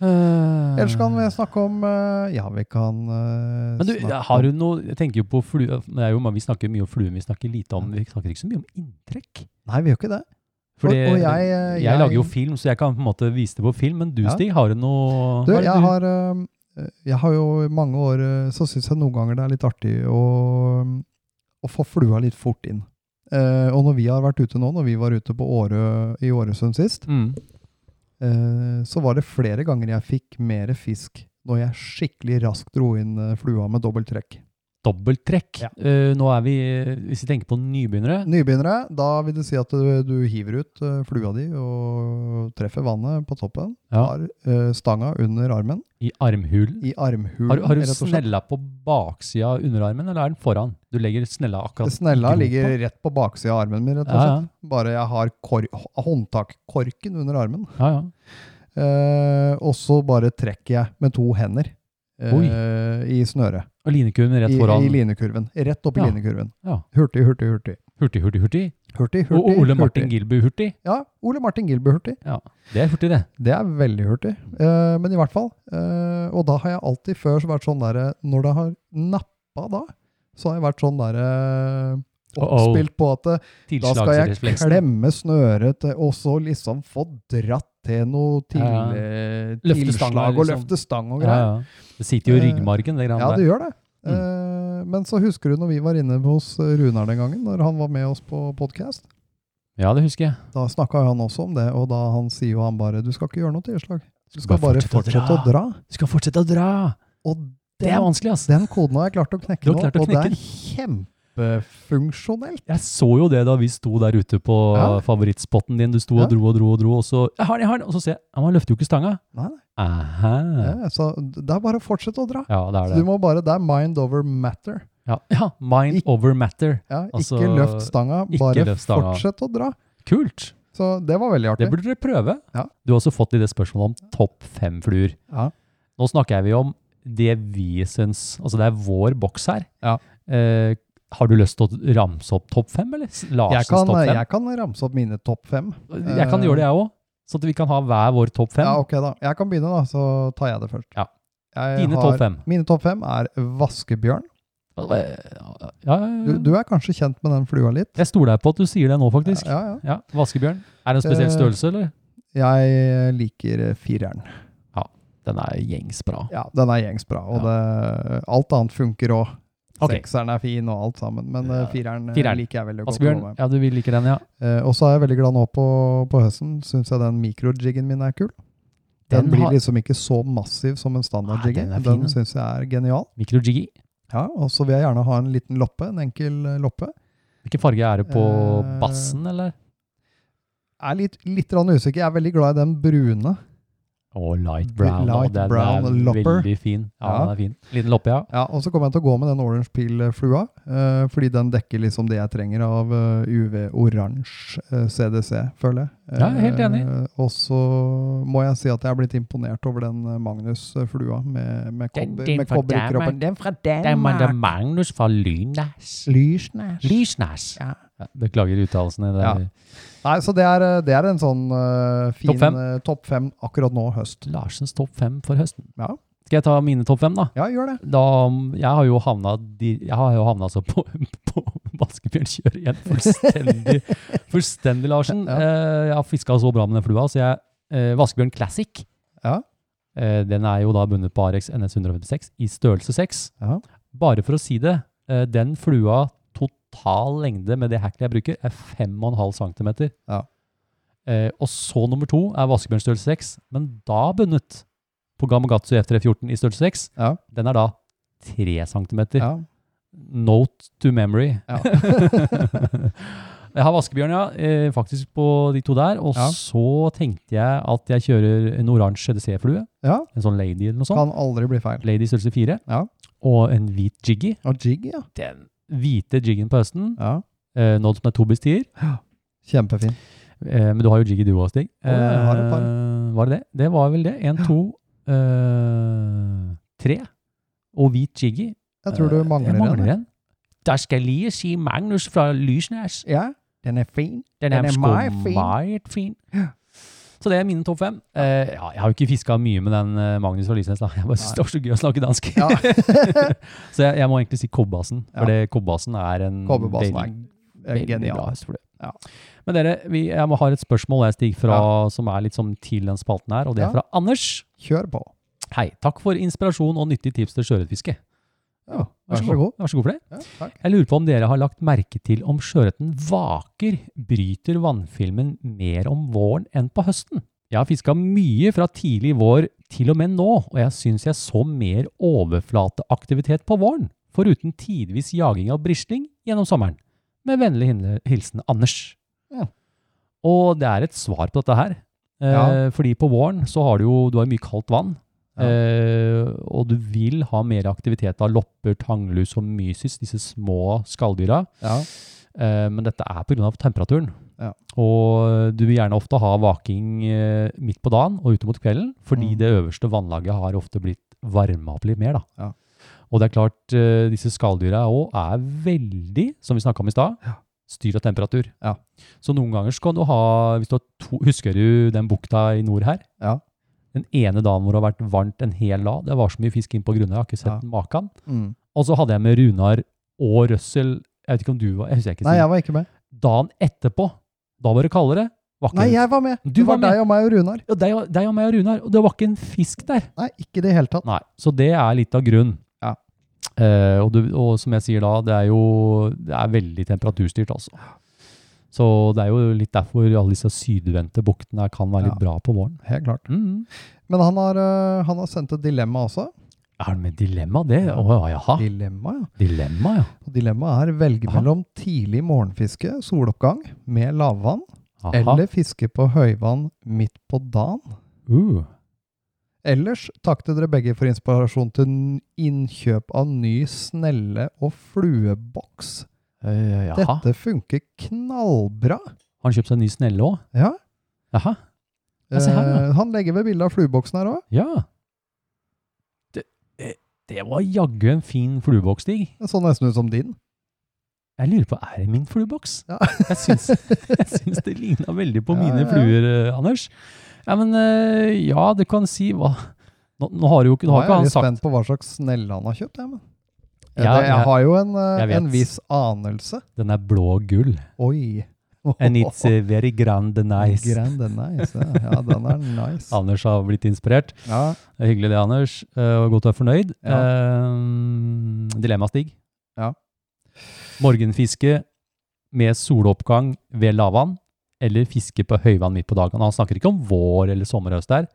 Speaker 5: Eh,
Speaker 6: Ellers kan vi snakke om eh, Ja, vi kan eh,
Speaker 5: Men du,
Speaker 6: snakke
Speaker 5: har du noe Jeg tenker jo på flue. Det er jo, vi snakker mye om flue, men vi snakker lite om Vi snakker ikke så mye om inntrekk.
Speaker 6: Nei, vi gjør ikke det.
Speaker 5: For
Speaker 6: Og-
Speaker 5: det-
Speaker 6: og jeg, eh,
Speaker 5: jeg,
Speaker 6: jeg-
Speaker 5: lager jo film, så jeg kan på en måte vise det på film. Men du,
Speaker 6: Ja.
Speaker 5: Stig, har du noe
Speaker 6: Du,
Speaker 5: hva er det
Speaker 6: jeg har, eh, jeg har jo i mange år eh, Så syns jeg noen ganger det er litt artig å, eh, å få flua litt fort inn. Eh, og når vi har vært ute nå, når vi var ute på Årø i Åresund sist,
Speaker 5: mm.
Speaker 6: eh, så var det flere ganger jeg fikk mer fisk når jeg skikkelig raskt dro inn eh, flua med dobbelt trekk.
Speaker 5: Dobbelttrekk.
Speaker 6: Ja.
Speaker 5: Eh, nå er vi eh, Hvis vi tenker på nybegynnere
Speaker 6: Nybegynnere, da vil det si at du, du hiver ut eh, flua di og treffer vannet på toppen.
Speaker 5: ja,
Speaker 6: Har eh, stanga under armen,
Speaker 5: i armhulen
Speaker 6: i armhulen.
Speaker 5: Har, du- har du
Speaker 6: rett og slett.
Speaker 5: snella på baksida av underarmen, eller er den foran? Du legger snella akkurat
Speaker 6: Snella
Speaker 5: gropa.
Speaker 6: ligger rett på baksida av armen min, rett og
Speaker 5: Ja,
Speaker 6: slett.
Speaker 5: ja.
Speaker 6: Bare jeg har kor håndtakkorken under armen.
Speaker 5: Ja, ja.
Speaker 6: Eh, og så bare trekker jeg med to hender eh, i snøret.
Speaker 5: Og linekurven rett
Speaker 6: I,
Speaker 5: foran.
Speaker 6: I linekurven. Rett opp i
Speaker 5: Ja.
Speaker 6: linekurven.
Speaker 5: Ja.
Speaker 6: Hurtig, hurtig, hurtig.
Speaker 5: hurtig, hurtig, hurtig.
Speaker 6: Hurtig, hurtig,
Speaker 5: Og og Ole Martin
Speaker 6: hurtig.
Speaker 5: Gilbu hurtig.
Speaker 6: Ja, Ole Martin Gilby hurtig.
Speaker 5: Det er hurtig, det.
Speaker 6: Det er veldig hurtig. Eh, men i hvert fall. Eh, og da har jeg alltid før så vært sånn derre Når det har nappa da, så har jeg vært sånn derre
Speaker 5: Uh-oh.
Speaker 6: Oppspilt på at eh, Da skal jeg
Speaker 5: Tilslagsrefleksen.
Speaker 6: klemme snøret til, og så liksom få dratt til noe til,
Speaker 5: Ja.
Speaker 6: eh,
Speaker 5: Løftestanga,
Speaker 6: tilslag og
Speaker 5: liksom.
Speaker 6: løftestang og
Speaker 5: Ja,
Speaker 6: greier. Eh,
Speaker 5: ja. Det sitter jo i ryggmargen, det
Speaker 6: Ja,
Speaker 5: greiene
Speaker 6: det
Speaker 5: der.
Speaker 6: gjør det. Eh, men så husker du når vi var inne hos eh, Runar den gangen, når han var med oss på podkast?
Speaker 5: Ja, det husker jeg.
Speaker 6: Da snakka han også om det, og da han sier jo han bare Du skal ikke gjøre noe tilslag. Du skal bare fortsette, å, dra.
Speaker 5: Du skal fortsette å dra.
Speaker 6: Og
Speaker 5: Det er
Speaker 6: den,
Speaker 5: vanskelig, ass.
Speaker 6: den koden har jeg klart å
Speaker 5: Du
Speaker 6: knekke
Speaker 5: har
Speaker 6: nå,
Speaker 5: klart å
Speaker 6: og det
Speaker 5: knekke
Speaker 6: er kjempefunksjonelt.
Speaker 5: Jeg så jo det da vi sto der ute på
Speaker 6: Ja.
Speaker 5: favorittspotten din. Du sto
Speaker 6: Ja.
Speaker 5: og dro og dro og dro, og så Jeg har den, jeg har den! Og så ser jeg Ja, men han løfter jo ikke stanga.
Speaker 6: Nei, nei.
Speaker 5: Aha.
Speaker 6: Ja, så det er bare å fortsette å dra.
Speaker 5: Ja, det er
Speaker 6: Så
Speaker 5: det.
Speaker 6: du må bare, Det er mind over matter.
Speaker 5: Ja, ja Mind
Speaker 6: Ik-
Speaker 5: over matter.
Speaker 6: Ja,
Speaker 5: Altså,
Speaker 6: ikke løft stanga,
Speaker 5: ikke
Speaker 6: bare
Speaker 5: løft stanga.
Speaker 6: fortsett å dra.
Speaker 5: Kult!
Speaker 6: Så det var veldig
Speaker 5: Det
Speaker 6: artig.
Speaker 5: burde dere prøve.
Speaker 6: Ja.
Speaker 5: Du har også fått i det spørsmålet om topp fem fluer.
Speaker 6: Ja.
Speaker 5: Nå snakker vi om det vi syns Altså, det er vår boks her.
Speaker 6: Ja.
Speaker 5: Eh, har du lyst til å ramse opp topp fem, eller? S-
Speaker 6: Jeg
Speaker 5: Larsens
Speaker 6: kan, eh,
Speaker 5: topp fem? Jeg,
Speaker 6: jeg kan ramse opp mine topp fem.
Speaker 5: kan gjøre det, jeg òg. Så at vi kan ha hver vår topp fem.
Speaker 6: Ja, ok da. Jeg kan begynne, da, så tar jeg det først.
Speaker 5: Ja.
Speaker 6: Jeg
Speaker 5: Dine
Speaker 6: har-
Speaker 5: topp fem.
Speaker 6: Mine topp fem er vaskebjørn.
Speaker 5: Ja, ja,
Speaker 6: Du,
Speaker 5: ja.
Speaker 6: du er kanskje kjent med den flua litt?
Speaker 5: Jeg stoler deg på at du sier det nå, faktisk.
Speaker 6: Ja, ja.
Speaker 5: Ja, Vaskebjørn. Er det en spesiell
Speaker 6: Eh,
Speaker 5: størrelse, eller?
Speaker 6: Jeg liker eh, fireren.
Speaker 5: Den er gjengs bra.
Speaker 6: Ja, den er gjengs bra. Og det, alt annet funker òg.
Speaker 5: Ok.
Speaker 6: Sekseren er fin og alt sammen, men eh, fireren, eh,
Speaker 5: Fireren.
Speaker 6: liker jeg veldig godt. å gå
Speaker 5: Vaskebjørn,
Speaker 6: med.
Speaker 5: ja, du vil like den, ja.
Speaker 6: Eh, og så er jeg veldig glad nå på, på høsten. Syns jeg den mikrojiggen min er kul. Den,
Speaker 5: Den
Speaker 6: blir
Speaker 5: har-
Speaker 6: liksom ikke så massiv som en standard
Speaker 5: Nei,
Speaker 6: jigger.
Speaker 5: den er
Speaker 6: Den,
Speaker 5: fin, den.
Speaker 6: syns jeg er genial.
Speaker 5: Mikro-jiggy.
Speaker 6: Ja, Og så vil jeg gjerne ha en liten loppe. En enkel eh, loppe.
Speaker 5: Hvilken farge er det på
Speaker 6: Eh,
Speaker 5: bassen, eller?
Speaker 6: Jeg er litt, litt grann usikker. Jeg er veldig glad i den brune.
Speaker 5: Å, light brown.
Speaker 6: Light
Speaker 5: Light den,
Speaker 6: brown
Speaker 5: er
Speaker 6: lopper.
Speaker 5: Veldig fin. Ja,
Speaker 6: Ja.
Speaker 5: den er fin. Liten loppe, ja.
Speaker 6: Ja, Og så kommer jeg til å gå med den orange peel-flua, eh, fordi den dekker liksom det jeg trenger av eh, UV-oransje eh, CDC, føler jeg. Eh,
Speaker 5: Ja, jeg er helt enig.
Speaker 6: eh, og så må jeg si at jeg er blitt imponert over den eh, Magnus-flua med, med
Speaker 5: Den-
Speaker 6: kobber,
Speaker 5: den
Speaker 6: med
Speaker 5: fra
Speaker 6: kobberkroppen.
Speaker 5: Danmark.
Speaker 6: Den fra
Speaker 5: Det er
Speaker 6: Danmark!
Speaker 5: Amanda Magnus fra Lynæs.
Speaker 6: Lysnæs.
Speaker 5: Lysnæs.
Speaker 6: Ja.
Speaker 5: Beklager uttalelsene. Det er
Speaker 6: Nei, så det er, eh, det er en sånn eh, fin
Speaker 5: Topp fem.
Speaker 6: eh, topp fem akkurat nå, høst.
Speaker 5: Larsens topp fem for høsten.
Speaker 6: Ja.
Speaker 5: Skal jeg ta mine topp fem, da?
Speaker 6: Ja, gjør det.
Speaker 5: da jeg har jo havna, di- jeg har jo havna så på, på vaskebjørnkjøret igjen. Fullstendig, fullstendig Larsen.
Speaker 6: Ja.
Speaker 5: Eh, jeg har fiska så bra med den flua, så jeg eh, Vaskebjørn Classic
Speaker 6: Ja.
Speaker 5: eh, Den er jo da bundet på Arex NS 156 i størrelse 6.
Speaker 6: Ja.
Speaker 5: Bare for å si det, eh, den flua total lengde med det heklet jeg bruker, er 5,5 cm.
Speaker 6: Ja.
Speaker 5: Eh, og så nummer to er vaskebjørn størrelse 6, men da bundet på Gamogatsu F314 i størrelse 6.
Speaker 6: Ja.
Speaker 5: Den er da 3 cm.
Speaker 6: Ja.
Speaker 5: Note to memory.
Speaker 6: Ja.
Speaker 5: jeg har vaskebjørn, ja, eh, faktisk på de to der. Og
Speaker 6: Ja.
Speaker 5: så tenkte jeg at jeg kjører en oransje EDC-flue.
Speaker 6: ja.
Speaker 5: En sånn Lady eller noe sånt.
Speaker 6: Kan aldri bli feil.
Speaker 5: Lady størrelse 4.
Speaker 6: Ja.
Speaker 5: Og en hvit jiggy.
Speaker 6: Og jig, ja.
Speaker 5: Den hvite jiggen på høsten.
Speaker 6: ja.
Speaker 5: Eh, nådd med to bestier.
Speaker 6: Kjempefin.
Speaker 5: Eh, men du har jo jiggy du òg, Stig.
Speaker 6: Å, jeg har et par.
Speaker 5: Eh, var det det? Det var vel det. En, to, eh, tre. Og hvit jiggy.
Speaker 6: Jeg tror du
Speaker 5: Eh,
Speaker 6: mangler,
Speaker 5: jeg mangler
Speaker 6: en.
Speaker 5: en. Der skal jeg lige si Magnus fra Lysnes.
Speaker 6: Ja, den er fin.
Speaker 5: Den
Speaker 6: Den
Speaker 5: er,
Speaker 6: er
Speaker 5: sgu
Speaker 6: meget fin.
Speaker 5: meget fin. Så det er mine topp fem. Eh, ja, jeg har jo ikke fiska mye med den eh, Magnus fra Lysnes. da. Jeg bare synes Det var så gøy å snakke dansk.
Speaker 6: Ja.
Speaker 5: så jeg, jeg må egentlig si Kobbasen,
Speaker 6: Ja.
Speaker 5: for det Kobbasen er en veldig-
Speaker 6: Kobberbassen er er
Speaker 5: veldig bra
Speaker 6: genial.
Speaker 5: historie.
Speaker 6: Ja.
Speaker 5: Men dere, vi, jeg må ha et spørsmål jeg, Stig, fra, som er litt som til den spalten her, og det er
Speaker 6: Ja.
Speaker 5: fra Anders.
Speaker 6: Kjør på.
Speaker 5: Hei, takk for inspirasjon og nyttige tips til sjøørretfiske.
Speaker 6: Ja,
Speaker 5: Vær så god. Vær så god for det.
Speaker 6: Ja, takk.
Speaker 5: Jeg lurer på om dere har lagt merke til om sjøørreten vaker bryter vannfilmen mer om våren enn på høsten. Jeg har fiska mye fra tidlig vår til og med nå, og jeg syns jeg så mer overflateaktivitet på våren, foruten tidvis jaging av brisling gjennom sommeren. Med vennlig hin- hilsen Anders.
Speaker 6: Ja.
Speaker 5: Og det er et svar på dette her. Eh,
Speaker 6: Ja.
Speaker 5: Fordi på våren så har du jo du har mye kaldt vann.
Speaker 6: Ja.
Speaker 5: Eh, og du vil ha mer aktivitet av lopper, tanglus og mysis, disse små skalldyra.
Speaker 6: Ja,
Speaker 5: Eh, men dette er pga. temperaturen.
Speaker 6: Ja.
Speaker 5: Og eh, du vil gjerne ofte ha vaking eh, midt på dagen og ute mot kvelden, fordi
Speaker 6: Mm.
Speaker 5: det øverste vannlaget har ofte blitt varma opp litt mer. da.
Speaker 6: Ja.
Speaker 5: Og det er klart, eh, disse skalldyra òg er veldig, som vi snakka om i stad,
Speaker 6: Ja.
Speaker 5: styr av temperatur.
Speaker 6: Ja.
Speaker 5: Så noen ganger skal du ha hvis du har to, Husker du den bukta i nord her?
Speaker 6: Ja.
Speaker 5: Den ene dagen hvor det har vært varmt en hel dag. Det var så mye fisk inn på grunnet, jeg har ikke sett
Speaker 6: Ja.
Speaker 5: maken.
Speaker 6: Mm.
Speaker 5: Og så hadde jeg med Runar og Røssel Jeg vet ikke om du var jeg husker ikke
Speaker 6: Nei,
Speaker 5: Stig
Speaker 6: jeg var ikke med.
Speaker 5: dagen etterpå, da var det kaldere. Var ikke
Speaker 6: Nei, jeg var med!
Speaker 5: Du
Speaker 6: det
Speaker 5: var
Speaker 6: var
Speaker 5: med.
Speaker 6: deg og meg og Runar.
Speaker 5: ja, deg, og- deg og meg og Runar, og det var ikke en fisk der.
Speaker 6: Nei, ikke i det hele tatt.
Speaker 5: Nei, så det er litt av grunnen.
Speaker 6: Ja.
Speaker 5: Eh, og, du, og som jeg sier da, det er jo det er veldig temperaturstyrt altså. Så det er jo litt derfor alle disse sydvendte buktene her kan være litt
Speaker 6: Ja.
Speaker 5: bra på våren.
Speaker 6: Helt klart.
Speaker 5: Mm.
Speaker 6: Men han har, øh, han har sendt et dilemma også.
Speaker 5: Er det med dilemma det? Å ja,
Speaker 6: Ah.
Speaker 5: jaha.
Speaker 6: Dilemma, ja.
Speaker 5: Dilemma, ja.
Speaker 6: Og dilemmaet er velge
Speaker 5: Aha.
Speaker 6: mellom tidlig morgenfiske, soloppgang, med lavvann,
Speaker 5: Aha.
Speaker 6: eller fiske på høyvann midt på dagen.
Speaker 5: Uh,
Speaker 6: Ellers takk til dere begge for inspirasjon til n- innkjøp av ny snelle- og flueboks.
Speaker 5: Eh, jaha.
Speaker 6: Dette funker knallbra.
Speaker 5: Har han kjøpt seg en ny snelle òg?
Speaker 6: Ja.
Speaker 5: Jaha. Ja, se her, da.
Speaker 6: Eh, han legger ved bildet av flueboksen her òg.
Speaker 5: Ja. Det, eh, det var jaggu en fin flueboks, Stig.
Speaker 6: Den så nesten ut som din.
Speaker 5: Jeg lurer på, er det min flueboks?
Speaker 6: Ja.
Speaker 5: Jeg, syns, jeg syns det ligna veldig på
Speaker 6: Ja,
Speaker 5: mine
Speaker 6: ja, ja.
Speaker 5: fluer, eh, Anders. Ja, men eh, ja, du kan si hva Nå, nå har jo ikke, nå har
Speaker 6: Nå er
Speaker 5: ikke
Speaker 6: jeg
Speaker 5: han
Speaker 6: litt
Speaker 5: sagt
Speaker 6: spent på hva slags snelle han har kjøpt. Jeg, men.
Speaker 5: Ja,
Speaker 6: det, jeg
Speaker 5: jeg-
Speaker 6: har jo en, eh,
Speaker 5: jeg vet.
Speaker 6: en viss anelse.
Speaker 5: Den er blå og gull.
Speaker 6: Oi.
Speaker 5: And it's eh, very grand and nice.
Speaker 6: Grand and nice. Ja, ja den er nice.
Speaker 5: Anders har blitt inspirert.
Speaker 6: Ja.
Speaker 5: Det er hyggelig det, Anders. Eh, og godt å være fornøyd.
Speaker 6: Ja.
Speaker 5: Eh, dilemma, Stig.
Speaker 6: Ja.
Speaker 5: Morgenfiske med soloppgang ved lavvann, eller fiske på høyvann midt på dagen. Han snakker ikke om vår eller sommerhøst der.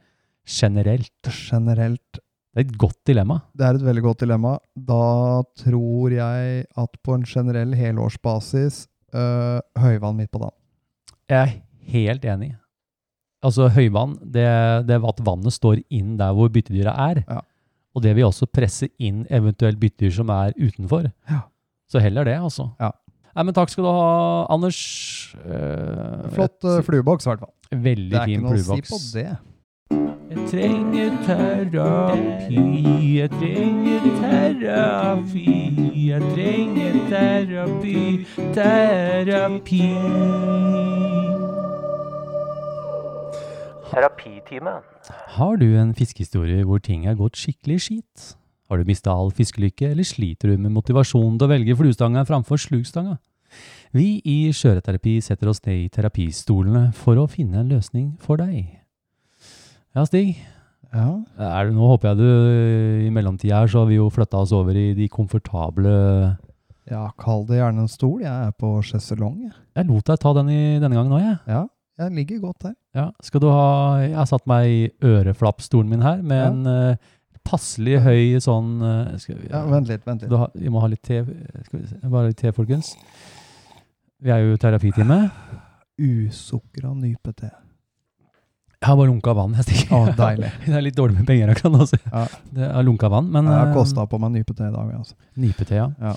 Speaker 5: Generelt.
Speaker 6: Generelt
Speaker 5: Det er et godt dilemma.
Speaker 6: Det er et veldig godt dilemma. Da tror jeg at på en generell helårsbasis øh, høyvann midt på dagen.
Speaker 5: Jeg er helt enig. Altså, høyvann, det, det er at vannet står inn der hvor byttedyra er.
Speaker 6: Ja.
Speaker 5: Og det vil også presse inn eventuelt byttedyr som er utenfor.
Speaker 6: Ja.
Speaker 5: Så heller det, altså.
Speaker 6: Ja.
Speaker 5: Nei, men takk skal du ha, Anders. Eh,
Speaker 6: Flott øh, flueboks, i hvert fall.
Speaker 5: Et veldig
Speaker 6: Det er ikke
Speaker 5: fin
Speaker 6: noe å si
Speaker 5: flueboks.
Speaker 6: på det.
Speaker 5: Jeg trenger terapi, jeg trenger terapi, jeg trenger terapi, terapi.
Speaker 2: Terapitime.
Speaker 5: Har du en fiskehistorie hvor ting er gått skikkelig skit? Har du mista all fiskelykke, eller sliter du med motivasjonen til å velge fluestanga framfor slugstanga? Vi i Skjøreterapi setter oss ned i terapistolene for å finne en løsning for deg. Ja, Stig,
Speaker 6: Ja.
Speaker 5: er det, nå håper jeg du i mellomtida her, så har vi jo flytta oss over i de komfortable
Speaker 6: ja, kall det gjerne en stol. Jeg er på sjeselong. jeg.
Speaker 5: Jeg lot deg ta den i denne gangen òg, jeg.
Speaker 6: Ja, jeg ligger godt der.
Speaker 5: Ja, skal du ha Jeg har satt meg i øreflappstolen min her med
Speaker 6: Ja.
Speaker 5: en eh, passelig høy sånn eh, skal vi,
Speaker 6: Ja, vent litt, vent
Speaker 5: du
Speaker 6: litt.
Speaker 5: har, Vi må ha litt te. Skal vi se, bare litt te, folkens. Vi er jo i terapitime.
Speaker 6: Usukra nypete.
Speaker 5: Jeg har bare lunka vann. jeg stikker.
Speaker 6: Å, deilig.
Speaker 5: Det er litt dårlig med penger akkurat nå. så
Speaker 6: Ja.
Speaker 5: Det er lunka vann, men
Speaker 6: Jeg har
Speaker 5: eh,
Speaker 6: kosta på meg nypete i dag. Altså.
Speaker 5: Nypete, ja.
Speaker 6: Ja.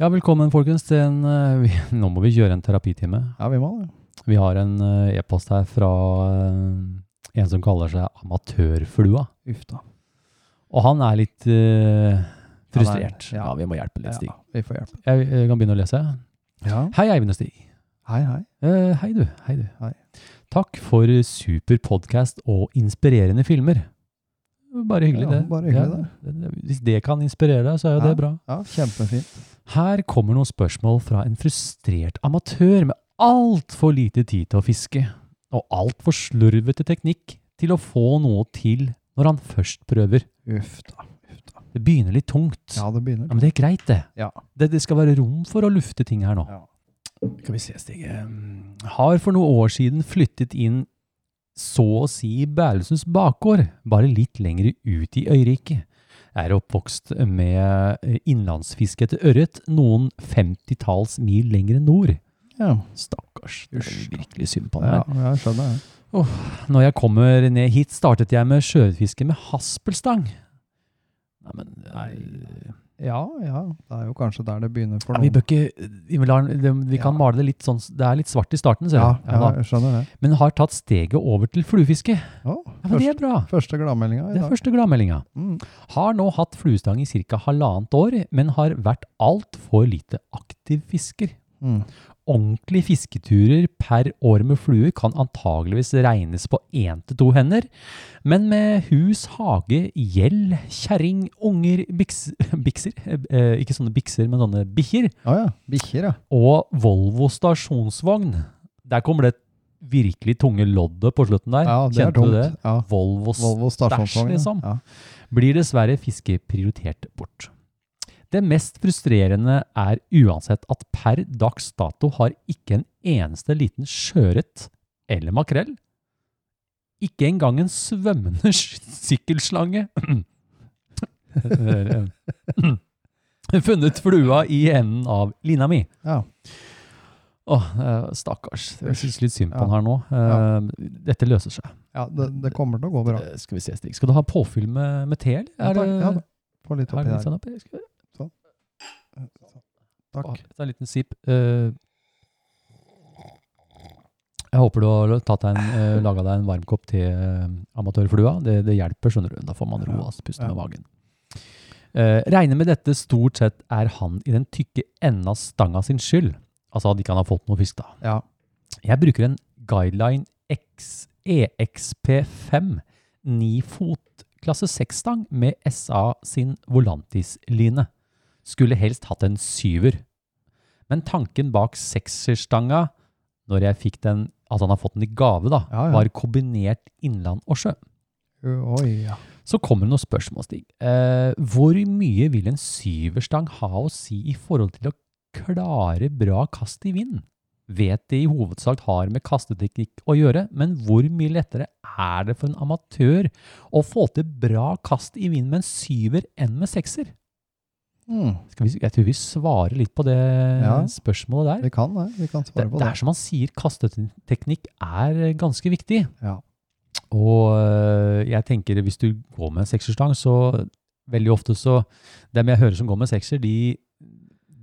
Speaker 5: Ja, velkommen, folkens, til en eh, vi, Nå må vi kjøre en terapitime.
Speaker 6: Ja, vi må det.
Speaker 5: Vi har en eh, e-post her fra eh, en som kaller seg Amatørflua.
Speaker 6: Uff da.
Speaker 5: Og han er litt eh, frustrert.
Speaker 6: ja.
Speaker 5: ja. vi må hjelpe litt,
Speaker 6: Ja,
Speaker 5: Stig.
Speaker 6: vi får hjelpe.
Speaker 5: Jeg, eh, kan begynne å lese.
Speaker 6: Ja.
Speaker 5: Hei, Eivind og Stig.
Speaker 6: Hei, hei.
Speaker 5: Eh, hei, du. Hei, du.
Speaker 6: Hei.
Speaker 5: Takk for super podkast og inspirerende filmer. Bare hyggelig,
Speaker 6: Ja,
Speaker 5: det.
Speaker 6: bare hyggelig,
Speaker 5: det. det- Hvis det kan inspirere deg, så er jo det bra.
Speaker 6: Ja, Kjempefint.
Speaker 5: Her kommer noen spørsmål fra en frustrert amatør med altfor lite tid til å fiske, og altfor slurvete teknikk til å få noe til når han først prøver.
Speaker 6: Uff da. Uff da.
Speaker 5: Det begynner litt tungt.
Speaker 6: Ja, det begynner.
Speaker 5: Ja, men det er greit, det.
Speaker 6: Ja.
Speaker 5: det. Det skal være rom for å lufte ting her nå.
Speaker 6: Ja.
Speaker 5: Skal vi se, Stig. Um, Har for noen år siden flyttet inn så å si Bærelsens bakgård, bare litt lenger ut i øyriket. Er oppvokst med eh, innlandsfiske etter ørret noen femtitalls mil lenger nord.
Speaker 6: Ja,
Speaker 5: Stakkars. Det
Speaker 6: Usch.
Speaker 5: er virkelig synd på han
Speaker 6: ja
Speaker 5: der.
Speaker 6: jeg skjønner det.
Speaker 5: Når jeg kommer ned hit, startet jeg med sjøfiske med haspelstang. Nei, men eh, nei.
Speaker 6: Ja, ja. Det er jo kanskje der det begynner for
Speaker 5: Ja, vi
Speaker 6: noen.
Speaker 5: bør ikke Vi, må la- det, vi kan
Speaker 6: Ja.
Speaker 5: male det litt sånn Det er litt svart i starten, ser
Speaker 6: Ja,
Speaker 5: du.
Speaker 6: ja,
Speaker 5: da.
Speaker 6: jeg skjønner det.
Speaker 5: Men har tatt steget over til fluefiske. Ja,
Speaker 6: Å,
Speaker 5: men det
Speaker 6: første,
Speaker 5: er bra.
Speaker 6: første gladmeldinga i
Speaker 5: Det er
Speaker 6: dag.
Speaker 5: første gladmeldinga.
Speaker 6: Mm.
Speaker 5: Har nå hatt fluestang i ca. halvannet år, men har vært altfor lite aktiv fisker.
Speaker 6: Mm.
Speaker 5: Ordentlige fisketurer per år med flue kan antageligvis regnes på én til to hender, men med hus, hage, gjeld, kjerring, unger, biks, bikser eh, Ikke sånne bikser, men sånne bikkjer
Speaker 6: Å ja. Bikkjer, ja.
Speaker 5: og Volvo stasjonsvogn. Der kommer det virkelig tunge loddet på slutten der.
Speaker 6: ja. Det
Speaker 5: Kjente
Speaker 6: er
Speaker 5: du
Speaker 6: tungt.
Speaker 5: det?
Speaker 6: Ja.
Speaker 5: Volvo
Speaker 6: Volvo stasjonsvogn.
Speaker 5: stæsj, liksom.
Speaker 6: Ja.
Speaker 5: Blir dessverre fisket prioritert bort. Det mest frustrerende er uansett at per dags dato har ikke en eneste liten sjøørret eller makrell. Ikke engang en svømmende sykkelslange. Funnet flua i enden av lina mi.
Speaker 6: Ja.
Speaker 5: Åh, eh, stakkars. Jeg syns litt synd på han her nå. Eh, Dette løser seg.
Speaker 6: Ja, det, det kommer til å gå bra.
Speaker 5: Eh, Skal vi se, Stig. Skal du ha påfyll med, med te, eller?
Speaker 6: Ja,
Speaker 5: Er
Speaker 6: takk.
Speaker 5: det-
Speaker 6: Ja, da. Få litt
Speaker 5: er
Speaker 6: oppi
Speaker 5: det litt
Speaker 6: der.
Speaker 5: sånn oppi? Skal vi-
Speaker 6: Takk.
Speaker 5: Åh, Ta en liten sip. Eh, jeg håper du har tatt deg en, uh, laga deg en varm kopp te, eh, amatørflua. Det, det hjelper, skjønner du. Da får man roa pusten med
Speaker 6: Ja.
Speaker 5: magen. Eh, regner med dette stort sett er han i den tykke enden av stanga sin skyld. Altså at ikke han har fått noe fisk, da.
Speaker 6: Ja.
Speaker 5: Jeg bruker en guideline X, EXP5 9-fot klasse 6-stang med SA sin Volantis-line. Skulle helst hatt en syver. Men tanken bak sekserstanga, når jeg fikk den, at han har fått den i gave, da,
Speaker 6: Ja, ja.
Speaker 5: var kombinert innland og sjø.
Speaker 6: Oi, ja.
Speaker 5: Så kommer det noen spørsmål, Stig. Eh, hvor mye vil en syverstang ha å si i forhold til å klare bra kast i vind? Vet det i hovedsak har med kasteteknikk å gjøre, men hvor mye lettere er det for en amatør å få til bra kast i vind med en syver enn med sekser?
Speaker 6: Mm.
Speaker 5: Skal vi, jeg tror vi svarer litt på det
Speaker 6: Ja.
Speaker 5: spørsmålet der.
Speaker 6: Vi kan det. Vi kan
Speaker 5: Det,
Speaker 6: svare på
Speaker 5: det
Speaker 6: det.
Speaker 5: er som han sier, kasteteknikk er eh, ganske viktig.
Speaker 6: Ja.
Speaker 5: Og øh, jeg tenker hvis du går med en sekserstang, så veldig ofte så Dem jeg hører som går med sekser, de,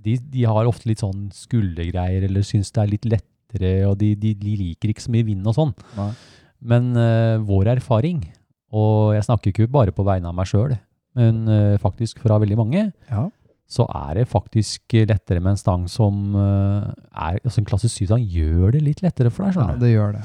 Speaker 5: de, de har ofte litt sånn skuldergreier, eller syns det er litt lettere, og de, de, de liker ikke så mye vind og sånn.
Speaker 6: Nei.
Speaker 5: Men øh, vår erfaring, og jeg snakker ikke bare på vegne av meg sjøl, men øh, faktisk fra veldig mange,
Speaker 6: Ja.
Speaker 5: så er det faktisk lettere med en stang som øh, er altså En klasse 7-stang gjør det litt lettere for deg.
Speaker 6: ja,
Speaker 5: skjønner du?
Speaker 6: det gjør det.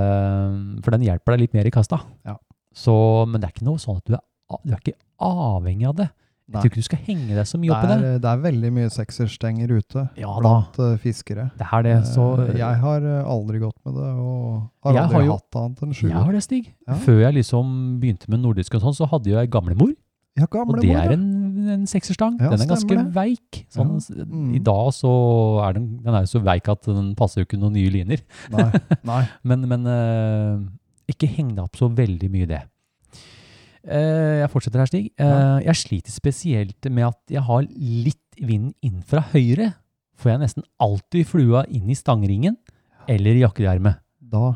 Speaker 5: Eh, for den hjelper deg litt mer i kasta.
Speaker 6: Ja.
Speaker 5: Så, men det er ikke noe sånn at du er, a- du er ikke avhengig av det. Jeg
Speaker 6: Nei.
Speaker 5: tror ikke du skal henge deg så mye opp i
Speaker 6: Det
Speaker 5: det.
Speaker 6: er, det er veldig mye sekserstenger ute
Speaker 5: Ja da,
Speaker 6: blant eh, fiskere.
Speaker 5: det er det. Så
Speaker 6: Eh, jeg har eh, aldri gått med det, og har
Speaker 5: Jeg
Speaker 6: aldri
Speaker 5: har jo-
Speaker 6: hatt annet enn
Speaker 5: jeg
Speaker 6: sjuer.
Speaker 5: har det, Stig.
Speaker 6: Ja.
Speaker 5: Før jeg liksom begynte med nordisk og sånn, så hadde jeg gamlemor.
Speaker 6: Ja,
Speaker 5: Og
Speaker 6: gamle
Speaker 5: det
Speaker 6: mor,
Speaker 5: er
Speaker 6: ja.
Speaker 5: en, en sekserstang.
Speaker 6: Ja,
Speaker 5: den er ganske
Speaker 6: stemmer det.
Speaker 5: veik. Sånn,
Speaker 6: Ja.
Speaker 5: s-
Speaker 6: Mm.
Speaker 5: I dag så er den, den er jo så veik at den passer jo ikke noen nye liner.
Speaker 6: Nei, nei.
Speaker 5: Men, men eh, ikke heng deg opp så veldig mye i det. Eh, jeg fortsetter her, Stig. Eh, Jeg sliter spesielt med at jeg har litt vind inn fra høyre. Får jeg nesten alltid flua inn i stangringen eller i jakkejermet.
Speaker 6: Da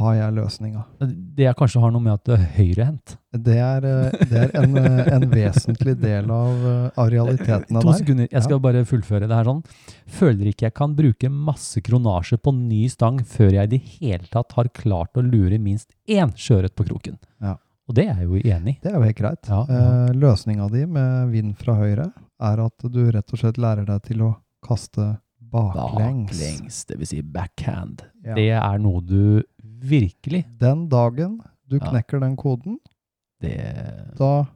Speaker 6: har jeg løsninga.
Speaker 5: Det jeg kanskje har noe med at det er høyrehendt.
Speaker 6: Det er, eh, det er en, eh, en vesentlig del av, eh, av realiteten av
Speaker 5: To
Speaker 6: det her.
Speaker 5: sekunder, jeg skal bare fullføre det her sånn. Føler ikke jeg kan bruke masse kronasje på ny stang før jeg i det hele tatt har klart å lure minst én sjøørret på kroken.
Speaker 6: Ja.
Speaker 5: Og det er jeg jo enig i.
Speaker 6: Det er jo helt greit.
Speaker 5: Ja, ja.
Speaker 6: Eh, Løsninga di med vind fra høyre er at du rett og slett lærer deg til å kaste baklengs.
Speaker 5: Baklengs, det vil si backhand.
Speaker 6: Ja.
Speaker 5: Det er noe du virkelig
Speaker 6: Den dagen du
Speaker 5: Ja.
Speaker 6: knekker den koden,
Speaker 5: det,
Speaker 6: da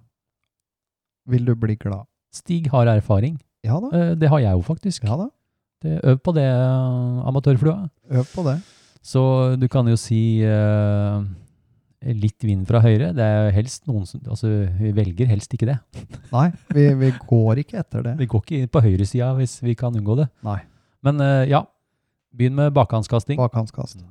Speaker 6: vil du bli glad.
Speaker 5: Stig har erfaring.
Speaker 6: Ja da.
Speaker 5: Eh, Det har jeg jo faktisk.
Speaker 6: Ja da.
Speaker 5: Det- Øv på det, eh, amatørflua.
Speaker 6: Øv på det.
Speaker 5: Så du kan jo si eh, litt vind fra høyre. Det er helst noen som Altså, vi velger helst ikke det.
Speaker 6: Nei, vi, vi går ikke etter det.
Speaker 5: Vi går ikke inn på høyresida hvis vi kan unngå det.
Speaker 6: Nei.
Speaker 5: Men eh, ja, begynn med bakhandskasting.
Speaker 6: Bakhåndskast.
Speaker 5: Mm.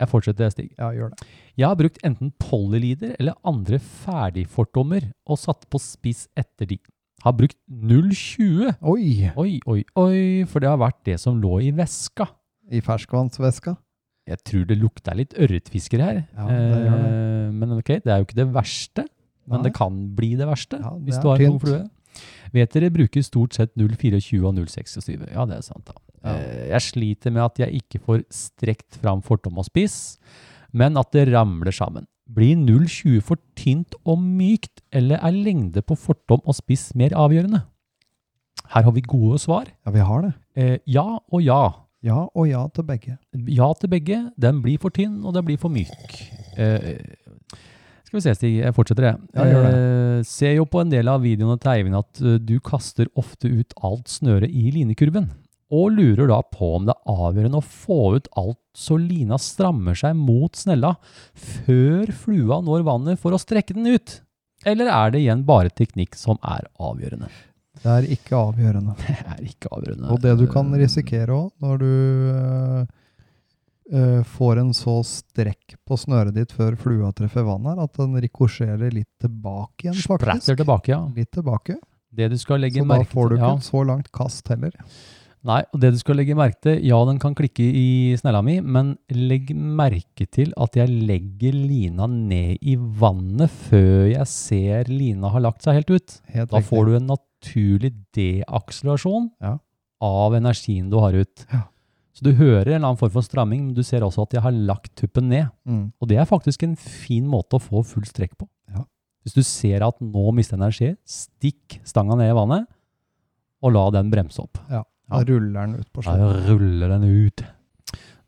Speaker 5: Jeg fortsetter, Stig.
Speaker 6: Ja, gjør det.
Speaker 5: Jeg har brukt enten polylider eller andre ferdigfordommer og satt på spiss etter de. Har brukt 0,20.
Speaker 6: Oi!
Speaker 5: Oi, oi, oi, for det har vært det som lå i veska.
Speaker 6: I ferskvannsveska.
Speaker 5: Jeg tror det lukter litt ørretfisker her.
Speaker 6: Ja, det gjør det.
Speaker 5: Eh, Men ok, det er jo ikke det verste. Men
Speaker 6: Nei.
Speaker 5: det kan bli det verste,
Speaker 6: Ja, det
Speaker 5: hvis
Speaker 6: er
Speaker 5: du har
Speaker 6: tynt.
Speaker 5: noen flue. Vet dere bruker stort sett 0,24 og 0,26. Ja, det er sant da.
Speaker 6: Ja.
Speaker 5: Eh, Jeg sliter med at jeg ikke får strekt fram fortom og spiss, men at det ramler sammen. Blir 0,20 for tynt og mykt, eller er lengde på fortom og spiss mer avgjørende? Her har vi gode svar.
Speaker 6: Ja, vi har det.
Speaker 5: Eh, Ja og ja.
Speaker 6: Ja og ja til begge.
Speaker 5: Ja til begge. Den blir for tynn, og den blir for myk. Eh, skal vi se, Stig. Jeg fortsetter, jeg.
Speaker 6: Ja, gjør
Speaker 5: Eh, ser jo på en del av videoene til Eivind at eh, du kaster ofte ut alt snøret i linekurven. Og lurer da på om det er avgjørende å få ut alt så lina strammer seg mot snella før flua når vannet for å strekke den ut. Eller er det igjen bare teknikk som er avgjørende?
Speaker 6: Det er ikke avgjørende.
Speaker 5: Det er ikke avgjørende.
Speaker 6: Og det du kan
Speaker 5: Eh,
Speaker 6: risikere òg, når du eh, eh, får en så strekk på snøret ditt før flua treffer vannet, her, at den rikosjerer litt tilbake igjen,
Speaker 5: Spretter
Speaker 6: faktisk.
Speaker 5: tilbake, ja.
Speaker 6: Litt tilbake.
Speaker 5: Det du skal legge
Speaker 6: Så da
Speaker 5: merke
Speaker 6: får du
Speaker 5: ja.
Speaker 6: ikke så langt kast heller.
Speaker 5: Nei, og det du skal legge merke til, ja, den kan klikke i snella mi, men legg merke til at jeg legger lina ned i vannet før jeg ser lina har lagt seg helt ut.
Speaker 6: Helt
Speaker 5: Da
Speaker 6: riktig.
Speaker 5: får du en naturlig deakselerasjon
Speaker 6: Ja.
Speaker 5: av energien du har ut.
Speaker 6: Ja.
Speaker 5: Så du hører en eller annen form for stramming, men du ser også at jeg har lagt tuppen ned.
Speaker 6: Mm.
Speaker 5: Og det er faktisk en fin måte å få full strekk på.
Speaker 6: Ja.
Speaker 5: Hvis du ser at nå mister jeg energi, stikk stanga ned i vannet, og la den bremse opp.
Speaker 6: Da ruller den ut på
Speaker 5: Da
Speaker 6: slått.
Speaker 5: ruller den ut.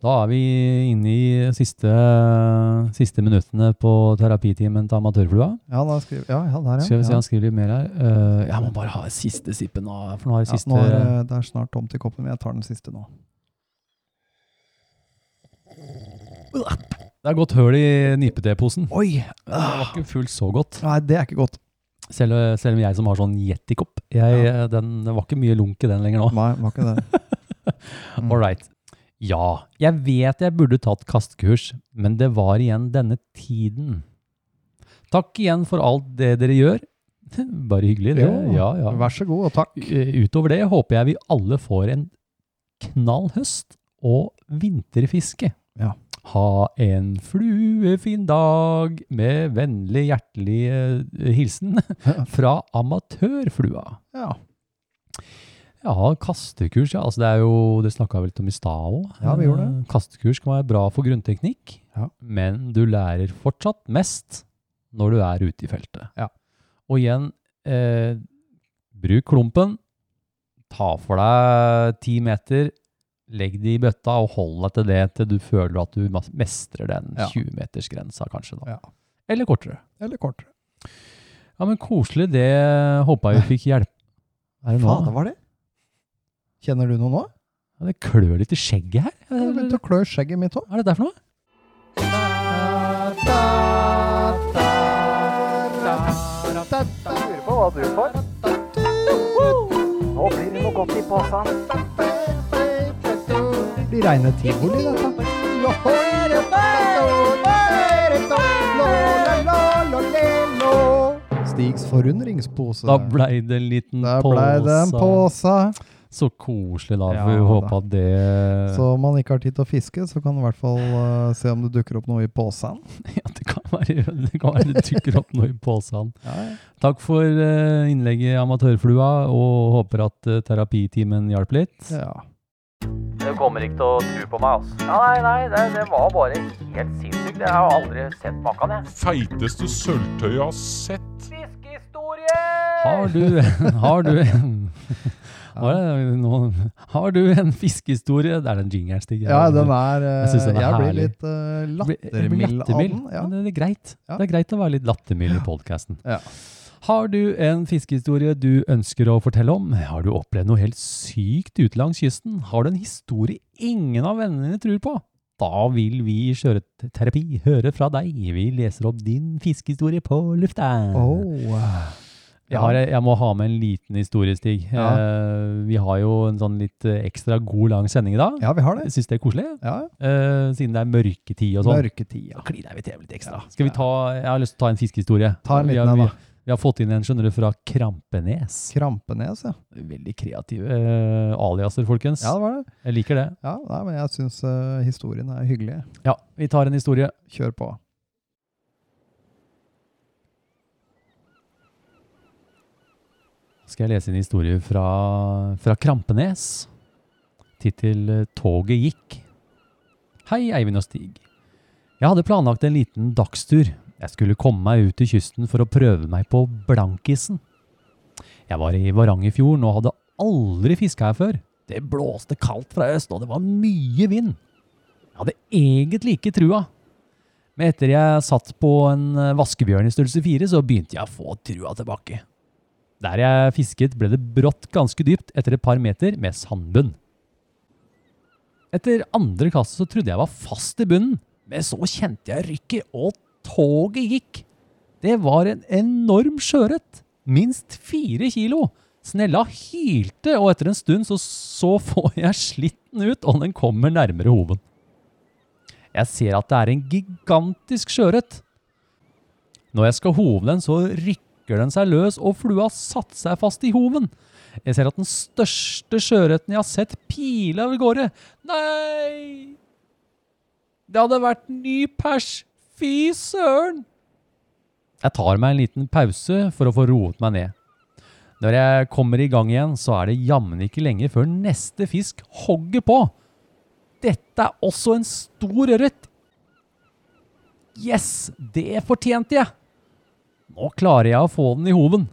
Speaker 5: Da er vi inne i siste, siste minuttene på terapitimen til amatørflua.
Speaker 6: Ja, da skriver Ja, ja, der, ja.
Speaker 5: Skal vi se,
Speaker 6: ja.
Speaker 5: han skriver litt mer her. Eh, jeg må bare ha siste sippen nå, for nå har jeg
Speaker 6: Ja,
Speaker 5: siste
Speaker 6: nå er, det- det er snart tomt i koppen, men jeg tar den siste nå.
Speaker 5: Det er godt høl i nipeteposen. Det
Speaker 6: Oi!
Speaker 5: var ikke fullt så godt.
Speaker 6: Nei, det er ikke godt.
Speaker 5: Selv, selv om jeg som har sånn yetikopp, jeg, eh, den, det var ikke mye lunk i den lenger nå.
Speaker 6: Nei, var ikke det. Mm.
Speaker 5: All right. Ja, jeg vet jeg burde tatt kastkurs, men det var igjen denne tiden. Takk igjen for alt det dere gjør. Bare hyggelig, det.
Speaker 6: Jo,
Speaker 5: ja, ja.
Speaker 6: Vær så god, og takk.
Speaker 5: Eh, Utover det håper jeg vi alle får en knall høst og vinterfiske.
Speaker 6: Ja.
Speaker 5: Ha en fluefin dag med vennlig, hjertelig eh, hilsen fra amatørflua.
Speaker 6: Ja,
Speaker 5: Ja, kastekurs, ja. Altså, det er jo, det snakka vi litt om i stad òg.
Speaker 6: Ja, vi gjorde det.
Speaker 5: Kastekurs kan være bra for grunnteknikk,
Speaker 6: Ja.
Speaker 5: men du lærer fortsatt mest når du er ute i feltet.
Speaker 6: Ja.
Speaker 5: Og igjen, eh, bruk klumpen. Ta for deg ti meter, legg det i bøtta og hold deg til det til du føler at du mas- mestrer den
Speaker 6: Ja.
Speaker 5: 20-metersgrensa, kanskje. da.
Speaker 6: Ja.
Speaker 5: Eller kortere.
Speaker 6: Eller kortere.
Speaker 5: Ja, men koselig. Det håpa jeg vi fikk hjelp. Er det nå?
Speaker 6: Faen, det var det. Kjenner du noe nå?
Speaker 5: Ja, det klør litt i skjegget her.
Speaker 6: Jeg
Speaker 5: Hva
Speaker 6: begynte å klø i skjegget mitt òg.
Speaker 5: er det der for noe?
Speaker 4: Lurer på hva du får.
Speaker 2: Nå blir det noe godt i posen.
Speaker 6: Blir reine tivoli, dette. Stigs forundringspose.
Speaker 5: Da blei det en liten
Speaker 6: Der
Speaker 5: pose.
Speaker 6: blei det en pose.
Speaker 5: Så koselig, da.
Speaker 6: Ja,
Speaker 5: Får vi
Speaker 6: da.
Speaker 5: håpe at det
Speaker 6: Så om man ikke har tid til å fiske, så kan du i hvert fall eh, se om det dukker opp noe i posen.
Speaker 5: ja, det, kan være, det kan være det dukker opp noe i posen. Takk for eh, innlegget, Amatørflua, og håper at eh, terapitimen hjalp litt.
Speaker 6: Ja.
Speaker 2: Du kommer ikke til å tro på meg, altså. Ja, nei, nei, det, det var bare helt sinnssykt. Jeg har aldri sett maken, jeg.
Speaker 3: Feiteste sølvtøyet jeg har sett.
Speaker 2: Fiskehistorie!
Speaker 5: Har du, har du en Hva er det nå? Har du en fiskehistorie? Det er den jingeren, Stig.
Speaker 6: ja, den er eh,
Speaker 5: Jeg synes den er
Speaker 6: Jeg blir
Speaker 5: herlig.
Speaker 6: litt eh,
Speaker 5: Jeg blir- jeg blir
Speaker 6: lattermild av
Speaker 5: lattermild,
Speaker 6: den. Ja.
Speaker 5: men Det er greit.
Speaker 6: Ja.
Speaker 5: Det er greit å være litt lattermild i podkasten.
Speaker 6: Ja.
Speaker 5: Har du en fiskehistorie du ønsker å fortelle om? Har du opplevd noe helt sykt ute langs kysten? Har du en historie ingen av vennene dine tror på? Da vil vi i Sjøørretterapi høre fra deg. Vi leser opp din fiskehistorie på lufta.
Speaker 6: Oh.
Speaker 5: Jeg, har, jeg må ha med en liten historie, Stig. Eh, vi har jo en sånn litt eh, ekstra god lang sending i dag.
Speaker 6: ja, vi har det.
Speaker 5: Jeg syns det er koselig,
Speaker 6: Ja.
Speaker 5: eh, siden det er mørketid og sånn.
Speaker 6: Mørketida.
Speaker 5: Da kliner jeg vi til litt ekstra. Skal vi ta, Jeg har lyst til å ta en fiskehistorie.
Speaker 6: Ta en
Speaker 5: Vi
Speaker 6: liten
Speaker 5: har-
Speaker 6: en, da.
Speaker 5: Vi, vi har fått inn en skjønner du, fra Krampenes.
Speaker 6: Krampenes, ja.
Speaker 5: Veldig kreative eh, aliaser, folkens.
Speaker 6: Ja, det var det.
Speaker 5: Jeg liker det.
Speaker 6: Ja, nei, men jeg syns eh, historien er hyggelig.
Speaker 5: Ja, Vi tar en historie.
Speaker 6: Kjør på.
Speaker 5: Skal jeg lese en historie fra, fra Krampenes. Tittel eh, 'Toget gikk'. Hei, Eivind og Stig. Jeg hadde planlagt en liten dagstur. Jeg skulle komme meg ut til kysten for å prøve meg på blankisen. Jeg var i Varangerfjorden og hadde aldri fiska her før. Det blåste kaldt fra øst, og det var mye vind. Jeg hadde egentlig ikke trua. Men etter jeg satt på en eh, vaskebjørn i størrelse fire, så begynte jeg å få trua tilbake. Der jeg fisket ble det brått ganske dypt etter et par meter med sandbunn. Etter andre kasse så trodde jeg var fast i bunnen, men så kjente jeg rykket, og toget gikk. Det var en enorm sjøørret. Minst fire kilo. Snella hylte, og etter en stund så, så får jeg slitt den ut, og den kommer nærmere hoven. Jeg ser at det er en gigantisk sjøørret. Når jeg skal hove den, så rykker den seg løs, og flua satte seg fast i hoven. Jeg ser at den største sjøørreten jeg har sett, piler av gårde. Nei! Det hadde vært ny pers. Fy søren! Jeg tar meg en liten pause for å få roet meg ned. Når jeg kommer i gang igjen, så er det jammen ikke lenge før neste fisk hogger på. Dette er også en stor ørret. Yes, det fortjente jeg! Nå klarer jeg å få den i hoven.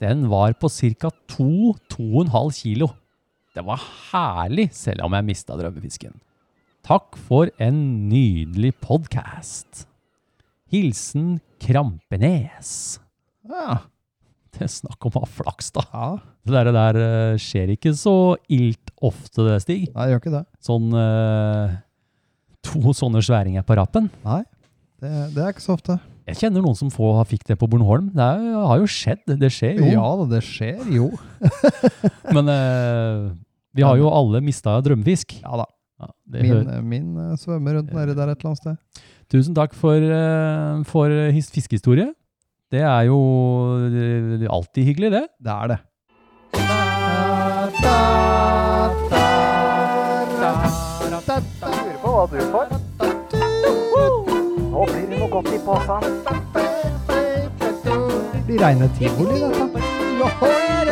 Speaker 5: Den var på ca. 2-2,5 kilo. Det var herlig, selv om jeg mista drømmefisken. Takk for en nydelig podkast. Hilsen Krampenes.
Speaker 6: Ja.
Speaker 5: Det er snakk om å ha flaks, da.
Speaker 6: ja.
Speaker 5: Det der, der eh, skjer ikke så ilt ofte, det, Stig.
Speaker 6: Nei, jeg gjør ikke det.
Speaker 5: Sånn eh, To sånne sværinger på rappen.
Speaker 6: Nei, det, det er ikke så ofte.
Speaker 5: Jeg kjenner noen som få, fikk det på Bornholm. Det er, har jo skjedd. Det skjer jo.
Speaker 6: Ja da, det skjer jo.
Speaker 5: Men eh, vi har jo alle mista drømmefisk.
Speaker 6: Ja da.
Speaker 5: Ja, det hører-
Speaker 6: Min, min eh, svømmer rundt nedi der et eller annet sted.
Speaker 5: Tusen takk for, eh, for his- fiskehistorie. Det er jo eh, alltid hyggelig, det.
Speaker 6: Det er det.
Speaker 4: Jeg lurer på hva du får. Nå blir det noe godt i posen.
Speaker 6: Det blir reine tivoli, dette.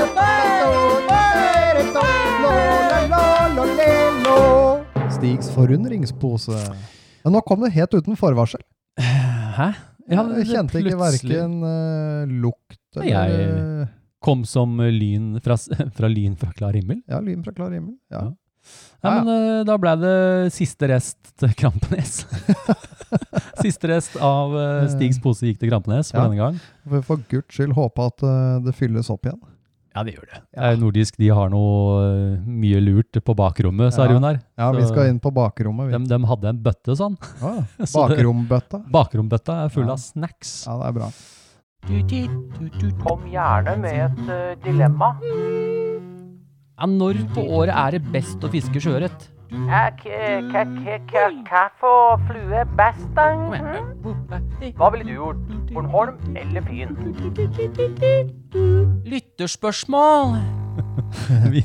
Speaker 6: Stigs forundringspose. Ja, nå kom det helt uten forvarsel.
Speaker 5: Hæ?
Speaker 6: jeg kjente ikke verken eh, lukt
Speaker 5: Nei,
Speaker 6: eller eh,
Speaker 5: jeg- Kom som lyn fra, s- fra lyn fra klar himmel.
Speaker 6: Ja, lyden fra klar himmel. Ja.
Speaker 5: Ja. Nei,
Speaker 6: Ja, ja.
Speaker 5: men eh, da ble det siste rest til Krampenes. siste rest av eh, Stigs pose gikk til Krampenes for
Speaker 6: Ja.
Speaker 5: denne gang.
Speaker 6: For, for guds skyld håpe at eh, det fylles opp igjen.
Speaker 5: Ja, det gjør det. Eh, Nordisk de har noe eh, mye lurt på bakrommet, sa
Speaker 6: Ja.
Speaker 5: Runar.
Speaker 6: Ja,
Speaker 5: Så-
Speaker 6: vi skal inn på bakrommet.
Speaker 5: De,
Speaker 6: vi.
Speaker 5: de hadde en bøtte sånn.
Speaker 6: Ja,
Speaker 5: Så det-
Speaker 6: bakrombøtta.
Speaker 5: Bakrombøtta er full
Speaker 6: Ja.
Speaker 5: av snacks.
Speaker 6: Ja, det er bra.
Speaker 2: Kom gjerne med et eh, dilemma.
Speaker 1: Ja, når på året er det best å fiske sjøørret?
Speaker 2: Hva for flue best, da? Mhm. Hva ville du gjort? Bornholm eller Fyn?
Speaker 1: Lytterspørsmål!
Speaker 5: Vi,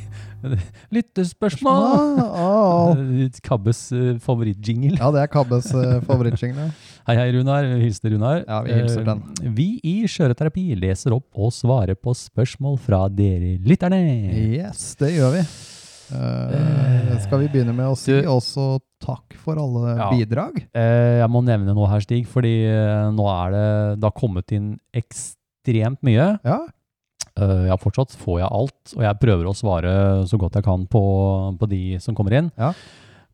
Speaker 5: lyttespørsmål!
Speaker 6: Ah, ah, ah.
Speaker 5: Eh, Kabbes eh, favorittjingle.
Speaker 6: Ja, det er Kabbes eh, favorittsjingle.
Speaker 5: Hei, hei, Runar. Vi Hilser Runar.
Speaker 6: Ja, vi hilser
Speaker 5: Eh,
Speaker 6: den.
Speaker 5: Vi i Skjøreterapi leser opp og svarer på spørsmål fra dere lytterne.
Speaker 6: Yes, det gjør vi. Eh, skal vi begynne med å si
Speaker 5: Du-
Speaker 6: også takk for alle
Speaker 5: Ja.
Speaker 6: bidrag?
Speaker 5: Eh, Jeg må nevne noe her, Stig, fordi eh, nå er det Det har kommet inn ekstremt mye.
Speaker 6: Ja,
Speaker 5: Eh, Ja, fortsatt får jeg alt, og jeg prøver å svare så godt jeg kan på, på de som kommer inn.
Speaker 6: Ja.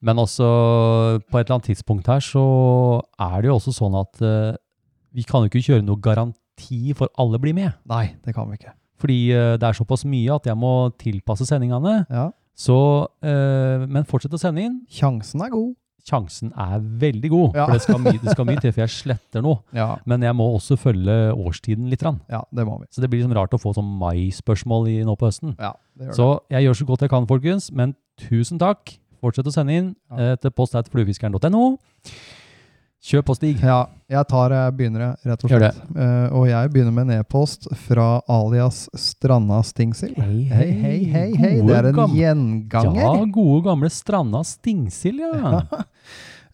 Speaker 5: Men også på et eller annet tidspunkt her så er det jo også sånn at eh, vi kan jo ikke kjøre noe garanti for alle blir med.
Speaker 6: Nei, det kan vi ikke.
Speaker 5: Fordi eh, det er såpass mye at jeg må tilpasse sendingene.
Speaker 6: Ja.
Speaker 5: Så, eh, men fortsett å sende inn.
Speaker 6: Sjansen er god.
Speaker 5: Sjansen er veldig god,
Speaker 6: Ja.
Speaker 5: for det skal, mye, det skal mye til, for jeg sletter noe.
Speaker 6: Ja,
Speaker 5: Men jeg må også følge årstiden litt. grann.
Speaker 6: ja det må vi.
Speaker 5: Så det blir liksom rart å få sånn mai-spørsmål i- nå på høsten.
Speaker 6: Ja, det gjør
Speaker 5: Så jeg gjør så godt jeg kan, folkens, men tusen takk. Fortsett å sende inn
Speaker 6: Ja.
Speaker 5: eh, til post.fluefiskeren.no. Kjøp og stig.
Speaker 6: det. Ja, jeg tar jeg begynner, jeg, rett og
Speaker 5: Gjør
Speaker 6: slett. Eh, og jeg begynner med en e-post fra alias Stranda Stingsild. Hei, hei, hei, hei. Det er en
Speaker 5: gjenganger. Ja,
Speaker 6: gjenganger.
Speaker 5: gode gamle Stranda Stingsild, ja.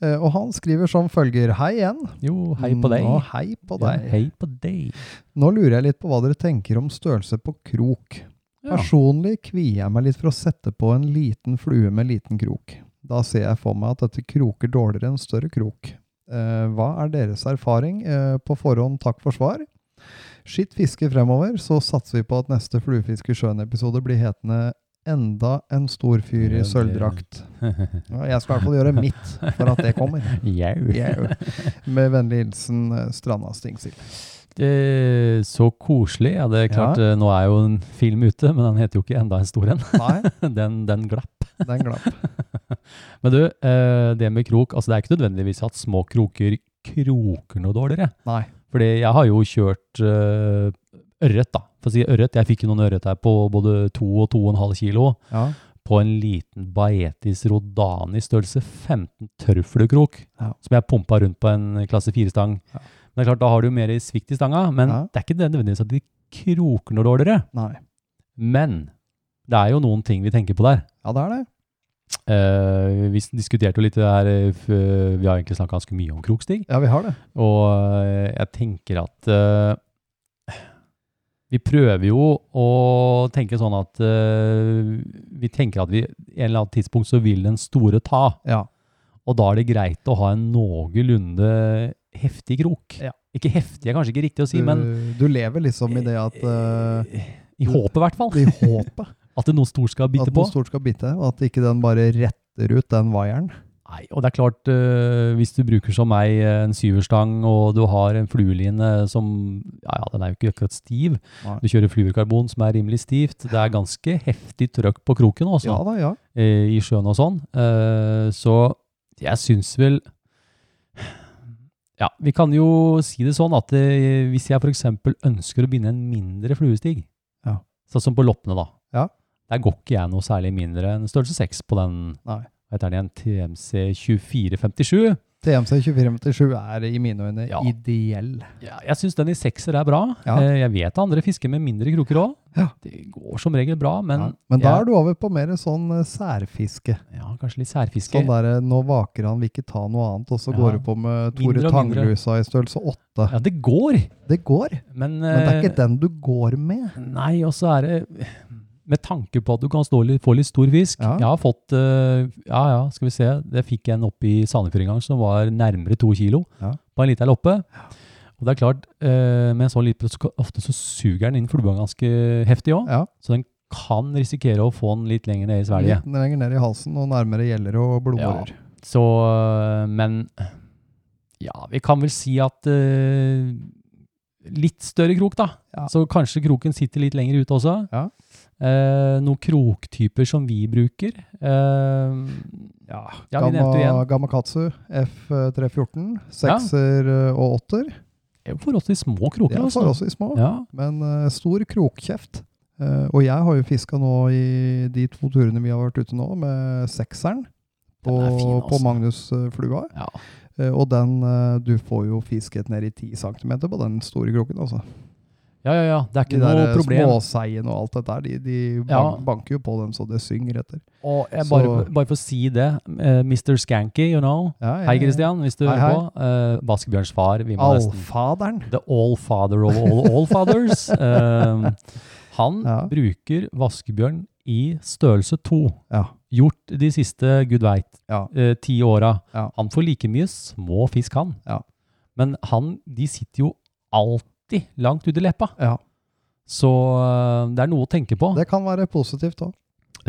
Speaker 6: Eh, og han skriver som følger. Hei igjen.
Speaker 5: Jo, hei på deg.
Speaker 6: Nå, hei på deg.
Speaker 5: Ja, hei på deg.
Speaker 6: Nå lurer jeg litt på hva dere tenker om størrelse på krok.
Speaker 5: Ja.
Speaker 6: Personlig kvier jeg meg litt for å sette på en liten flue med liten krok. Da ser jeg for meg at dette kroker dårligere enn større krok. Eh, hva er deres erfaring? Eh, på forhånd takk for svar. Skitt fiske fremover, så satser vi på at neste Fluefisk i sjøen-episode blir hetende Enda en stor fyr
Speaker 5: Ja,
Speaker 6: i
Speaker 5: det-
Speaker 6: sølvdrakt. Ja, Jeg skal i hvert fall gjøre mitt for at det kommer.
Speaker 5: Jau.
Speaker 6: Jau. Med vennlig hilsen eh, Stranda Stingsild.
Speaker 5: Eh, Så koselig. Ja, det er klart, eh, nå er jo en film ute, men den heter jo ikke enda en stor en.
Speaker 6: Nei,
Speaker 5: Den, den glapp.
Speaker 6: den glapp.
Speaker 5: Men du, eh, det med krok, altså det er ikke nødvendigvis at små kroker kroker noe dårligere.
Speaker 6: Nei.
Speaker 5: Fordi jeg har jo kjørt eh, ørret, da. For å si ørret, jeg fikk jo noen ørret her på både 2 og 2,5 kilo.
Speaker 6: Ja.
Speaker 5: På en liten Baetis Rodani størrelse 15 tørrfluekrok.
Speaker 6: Ja.
Speaker 5: Som jeg pumpa rundt på en klasse 4-stang.
Speaker 6: Ja.
Speaker 5: Men det er klart, da har du jo mer svikt i stanga, men
Speaker 6: Ja.
Speaker 5: det er ikke nødvendigvis at de kroker noe dårligere.
Speaker 6: Nei.
Speaker 5: Men det er jo noen ting vi tenker på der.
Speaker 6: Ja, det er det.
Speaker 5: Eh, vi s- diskuterte jo litt det her, eh, f- eh, vi har egentlig snakket ganske mye om krokstig,
Speaker 6: Ja, vi har det.
Speaker 5: og eh, jeg tenker at eh, vi prøver jo å tenke sånn at eh, vi tenker at vi, en eller annen tidspunkt så vil den store ta,
Speaker 6: Ja.
Speaker 5: og da er det greit å ha en noenlunde heftig krok.
Speaker 6: Ja.
Speaker 5: Ikke heftig, er kanskje ikke riktig å si,
Speaker 6: Du,
Speaker 5: men
Speaker 6: du lever liksom Eh, i det at eh,
Speaker 5: i håpet i hvert fall.
Speaker 6: I håpet
Speaker 5: At det noe stort skal bite
Speaker 6: at
Speaker 5: på.
Speaker 6: noe stort skal bite, og at ikke den bare retter ut den vaieren.
Speaker 5: Nei, og det er klart, øh, hvis du bruker som meg øh, en syverstang, og du har en flueline som, ja, ja, den er jo ikke akkurat stiv.
Speaker 6: Nei.
Speaker 5: Du kjører fluorkarbon som er rimelig stivt. Det er ganske heftig trøkk på kroken også,
Speaker 6: Ja da, ja.
Speaker 5: eh, i sjøen og sånn. Eh, så jeg synes vel, ja, vi kan jo si det sånn at eh, hvis jeg for eksempel ønsker å binde en mindre fluestig,
Speaker 6: Ja.
Speaker 5: sånn som på loppene da,
Speaker 6: Ja.
Speaker 5: der går ikke jeg noe særlig mindre enn størrelse 6 på den
Speaker 6: Nei.
Speaker 5: hva heter den igjen, TMC 2457.
Speaker 6: TMC 2457 er i mine øyne
Speaker 5: Ja.
Speaker 6: ideell.
Speaker 5: Ja, jeg syns den i sekser er bra.
Speaker 6: Ja.
Speaker 5: Eh, Jeg vet andre fisker med mindre krukker òg.
Speaker 6: Ja.
Speaker 5: Det går som regel bra, men,
Speaker 6: Ja. Men da
Speaker 5: jeg-
Speaker 6: er du over på mer sånn eh, særfiske.
Speaker 5: ja, kanskje litt særfiske.
Speaker 6: Sånn der, eh, nå vaker han, vil ikke ta noe annet, og så
Speaker 5: Ja.
Speaker 6: går du på med Tore
Speaker 5: Mindre og mindre.
Speaker 6: Tanglusa i størrelse 8.
Speaker 5: Ja, det går,
Speaker 6: Det går,
Speaker 5: men,
Speaker 6: men det er ikke
Speaker 5: eh,
Speaker 6: den du går med.
Speaker 5: Nei, og så er det Med tanke på at du kan stå litt, få litt stor fisk
Speaker 6: Ja.
Speaker 5: Jeg har fått eh, Ja ja, skal vi se. Det fikk jeg en oppe i Sandefjord en gang som var nærmere to kilo
Speaker 6: Ja.
Speaker 5: på en liten loppe. Og det er klart, eh, med en sånn liten så ofte så suger den inn flua ganske heftig òg.
Speaker 6: Ja.
Speaker 5: Så den kan risikere å få den litt lenger ned i svelget.
Speaker 6: Litt lenger ned i halsen og nærmere gjeller og blodårer.
Speaker 5: Så, øh, men ja, vi kan vel si at øh, litt større krok da.
Speaker 6: Ja.
Speaker 5: Så kanskje kroken sitter litt lenger ute også.
Speaker 6: Ja.
Speaker 5: Eh, noen kroktyper som vi bruker. Eh, ja, vi nevnte jo igjen.
Speaker 6: Gamma, Gamakatsu F314, sekser eh, og åtter.
Speaker 5: Det er jo forholdsvis små
Speaker 6: De
Speaker 5: kroker.
Speaker 6: er
Speaker 5: altså.
Speaker 6: forholdsvis små.
Speaker 5: Ja,
Speaker 6: Men eh, stor krokkjeft. Eh, og jeg har jo fiska nå i de to turene vi har vært ute nå, med sekseren på,
Speaker 5: Den er fin, altså.
Speaker 6: på Magnus eh, Flua.
Speaker 5: ja.
Speaker 6: Eh, og den eh, Du får jo fisket ned i 10 cm på den store kroken, altså.
Speaker 5: ja, ja, ja. Det er
Speaker 6: De
Speaker 5: ikke noe
Speaker 6: der øh,
Speaker 5: problem.
Speaker 6: småseiene og alt dette der, de, de
Speaker 5: Ja.
Speaker 6: ban- banker jo på dem så det synger etter.
Speaker 5: Og jeg bare,
Speaker 6: Så-
Speaker 5: bare for å si det, eh, Mr. Skanky, you know.
Speaker 6: Ja, ja,
Speaker 5: Hei
Speaker 6: ja.
Speaker 5: Kristian, hvis du
Speaker 6: Hei,
Speaker 5: hører på. Eh, Vaskebjørns far, vi må nesten
Speaker 6: Allfaderen.
Speaker 5: The All Father of All All Fathers. Ehm, han
Speaker 6: Ja.
Speaker 5: bruker vaskebjørn i størrelse 2.
Speaker 6: Ja.
Speaker 5: Gjort de siste, gud veit,
Speaker 6: Ja.
Speaker 5: eh, ti åra.
Speaker 6: Ja.
Speaker 5: Han får like mye små fisk, han.
Speaker 6: Ja.
Speaker 5: Men han, de sitter jo alltid langt ut i leppa.
Speaker 6: Ja.
Speaker 5: Så eh, det er noe å tenke på. Det,
Speaker 6: Det kan være positivt òg.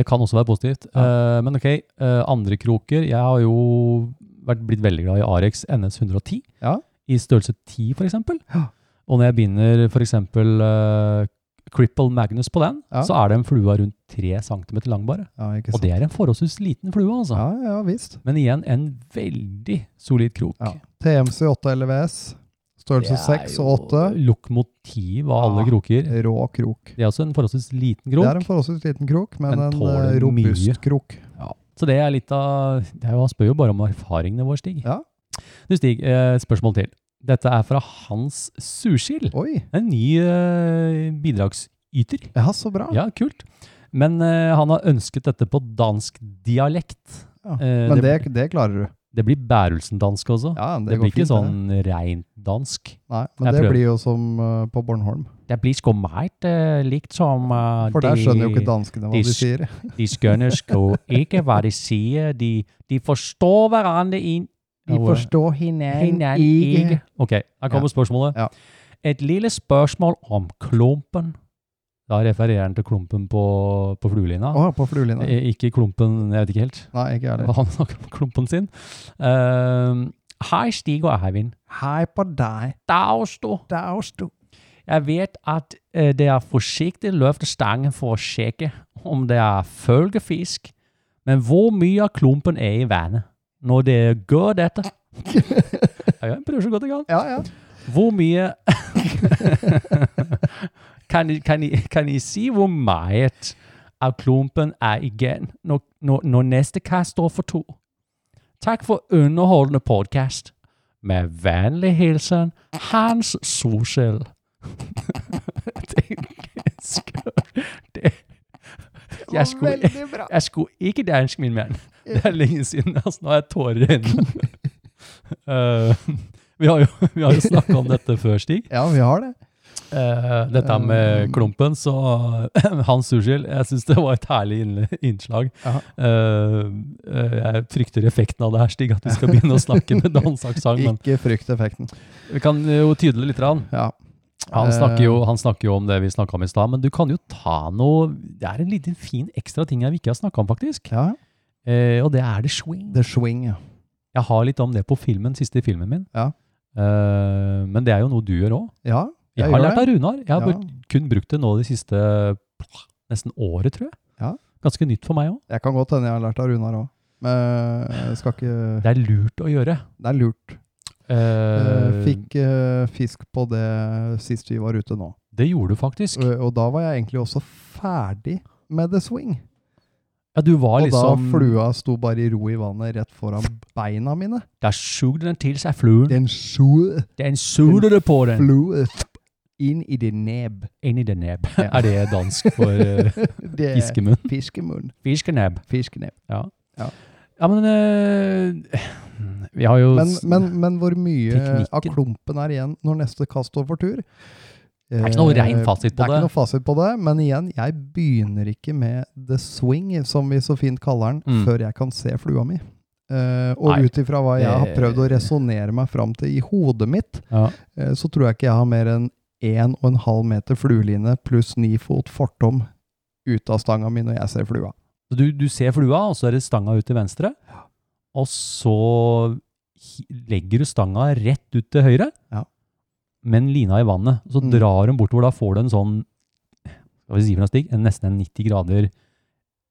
Speaker 5: kan også være positivt. Eh, men ok, eh, andre kroker. Jeg har jo vært, blitt veldig glad i Arex NS 110
Speaker 6: Ja.
Speaker 5: i størrelse 10 for eksempel.
Speaker 6: Ja.
Speaker 5: Og når jeg binder for eksempel eh, Cripple Magnus på den,
Speaker 6: Ja.
Speaker 5: så er den flua rundt 3 cm lang bare.
Speaker 6: Ja, ikke
Speaker 5: Og
Speaker 6: sant?
Speaker 5: det er en forholdsvis liten flue, altså.
Speaker 6: Ja, ja visst.
Speaker 5: Men igjen, en veldig solid krok.
Speaker 6: Ja. TMC 8 LVS, størrelse 6 og 8.
Speaker 5: Lokomotiv av alle
Speaker 6: Ja.
Speaker 5: kroker.
Speaker 6: Rå krok.
Speaker 5: Det er også en forholdsvis liten
Speaker 6: Det er
Speaker 5: krok.
Speaker 6: en forholdsvis liten krok, men,
Speaker 5: Men
Speaker 6: en
Speaker 5: tåler
Speaker 6: eh, robust
Speaker 5: mye.
Speaker 6: krok.
Speaker 5: Så det er litt av det er jo, Han spør jo bare om erfaringene våre, Stig.
Speaker 6: Ja.
Speaker 5: Du, Stig, eh, spørsmål til. Dette er fra Hans Surskild.
Speaker 6: Oi!
Speaker 5: En ny eh, bidragsyter.
Speaker 6: Ja, så bra.
Speaker 5: Ja, kult. Men eh, han har ønsket dette på dansk dialekt.
Speaker 6: Ja.
Speaker 5: Eh,
Speaker 6: Men det,
Speaker 5: det-
Speaker 6: det klarer du.
Speaker 5: Det blir Bærelsen-dansk også.
Speaker 6: Ja, men
Speaker 5: det,
Speaker 6: det, går
Speaker 5: blir ikke
Speaker 6: fint, det.
Speaker 5: sånn rent dansk.
Speaker 6: Nei, men
Speaker 5: Jeg
Speaker 6: det
Speaker 5: prøver.
Speaker 6: blir jo som eh, på Bornholm.
Speaker 5: Det blir skummelt, eh, likt som eh,
Speaker 6: For der skjønner jo ikke danskene hva
Speaker 5: de
Speaker 6: de sier.
Speaker 5: De skjønner sko ikke hva de sier. De, de forstår hverandre inn.
Speaker 6: forstår hinnen
Speaker 5: Hinanden ikke. Ok, her kommer spørsmålet.
Speaker 6: Ja.
Speaker 5: Et lille spørsmål om klumpen. Da refererer han til klumpen på, på fluelina.
Speaker 6: Å, på fluelina.
Speaker 5: Eh, Ikke klumpen, jeg vet ikke helt.
Speaker 6: Nei, ikke jeg
Speaker 5: Hva
Speaker 6: heller.
Speaker 5: han snakker om klumpen sin. Ehm, Hei, Stig og Eivind.
Speaker 6: Hei på deg,
Speaker 5: Dausto.
Speaker 6: daustu.
Speaker 5: Jeg vet at eh, det er forsiktig løfte stangen for å sjekke om det er følgefisk, men hvor mye av klumpen er i vannet når det gjør dette? Jeg prøver så godt jeg kan.
Speaker 6: Ja, ja.
Speaker 5: Hvor mye kan, I, kan, I, kan I si hvor meget av klumpen er igjen når, når, når neste kast står for to? Takk for underholdende podcast. Med vennlig hilsen Hans Solskjell. Jeg tenkte- Jeg skulle,
Speaker 6: Veldig bra.
Speaker 5: jeg skulle ikke dansk, min mann. Det er lenge siden. altså Nå har jeg tårer i øynene. Eh, vi har jo, vi har jo snakka om dette før, Stig.
Speaker 6: Ja, vi har det.
Speaker 5: Eh, dette med klumpen, så Hans uskyld. Jeg syns det var et herlig innle- innslag.
Speaker 6: Ja.
Speaker 5: Eh, eh, jeg frykter effekten av det her, Stig, at vi skal begynne å snakke med dansk aksent. Men
Speaker 6: Ikke frykt effekten.
Speaker 5: vi kan jo tydele litt. Rann.
Speaker 6: Ja.
Speaker 5: Han
Speaker 6: Eh,
Speaker 5: snakker, jo, han snakker jo om det vi snakka om i stad, men du kan jo ta noe Det er en liten fin ekstra ting jeg vi ikke har snakka om, faktisk.
Speaker 6: ja.
Speaker 5: Eh, og det er The Swing.
Speaker 6: The Swing, ja.
Speaker 5: Jeg har litt om det på filmen, siste filmen min.
Speaker 6: Ja.
Speaker 5: Eh, men det er jo noe du gjør òg.
Speaker 6: Ja,
Speaker 5: Jeg,
Speaker 6: Jeg
Speaker 5: har
Speaker 6: gjør
Speaker 5: lært av Runar. Jeg har
Speaker 6: Ja.
Speaker 5: br- kun brukt det nå de siste nesten året, tror jeg.
Speaker 6: Ja.
Speaker 5: Ganske nytt for meg òg.
Speaker 6: jeg kan godt hende jeg har lært av Runar òg. Men eh, jeg skal ikke
Speaker 5: Det er lurt å gjøre.
Speaker 6: Det er lurt.
Speaker 5: Eh,
Speaker 6: Eh, Fikk eh, fisk på det sist vi var ute nå.
Speaker 5: Det gjorde du faktisk.
Speaker 6: Og, og da var jeg egentlig også ferdig med The Swing.
Speaker 5: Ja, du var
Speaker 6: Og da
Speaker 5: liksom
Speaker 6: flua sto bare i ro i vannet rett foran beina mine.
Speaker 5: Der sugde den til seg fluen.
Speaker 6: Den slo
Speaker 5: Den sugde det på den!
Speaker 6: flu inn i din nebb.
Speaker 5: Inn i den nebb.
Speaker 6: Ja.
Speaker 5: Er det dansk for eh,
Speaker 6: Det er
Speaker 5: fiskemunn?
Speaker 6: Fiskemunn.
Speaker 5: Fiskenebb.
Speaker 6: Fiskenebb.
Speaker 5: Ja, men eh, Vi har jo
Speaker 6: Men,
Speaker 5: s-
Speaker 6: men, men hvor mye
Speaker 5: Teknikken.
Speaker 6: av klumpen er igjen når neste kast står for tur? Det
Speaker 5: er ikke noe rein fasit på
Speaker 6: Det er
Speaker 5: det.
Speaker 6: ikke noe fasit på det, men igjen, jeg begynner ikke med the swing, som vi så fint kaller den,
Speaker 5: Mm.
Speaker 6: før jeg kan se flua mi. Eh, og
Speaker 5: Nei,
Speaker 6: ut ifra hva jeg har
Speaker 5: det-
Speaker 6: prøvd å resonnere meg fram til i hodet mitt,
Speaker 5: Ja.
Speaker 6: eh, så tror jeg ikke jeg har mer enn 1,5 meter flueline pluss 9 fot fortom ut av stanga mi når jeg ser flua.
Speaker 5: Så du, du ser flua, og så er det stanga ut til venstre. Og så hi- legger du stanga rett ut til høyre,
Speaker 6: Ja.
Speaker 5: men lina i vannet. Så
Speaker 6: Mm.
Speaker 5: drar hun bortover. Da får du en sånn hva vil si for noe, Stig? En nesten en 90 grader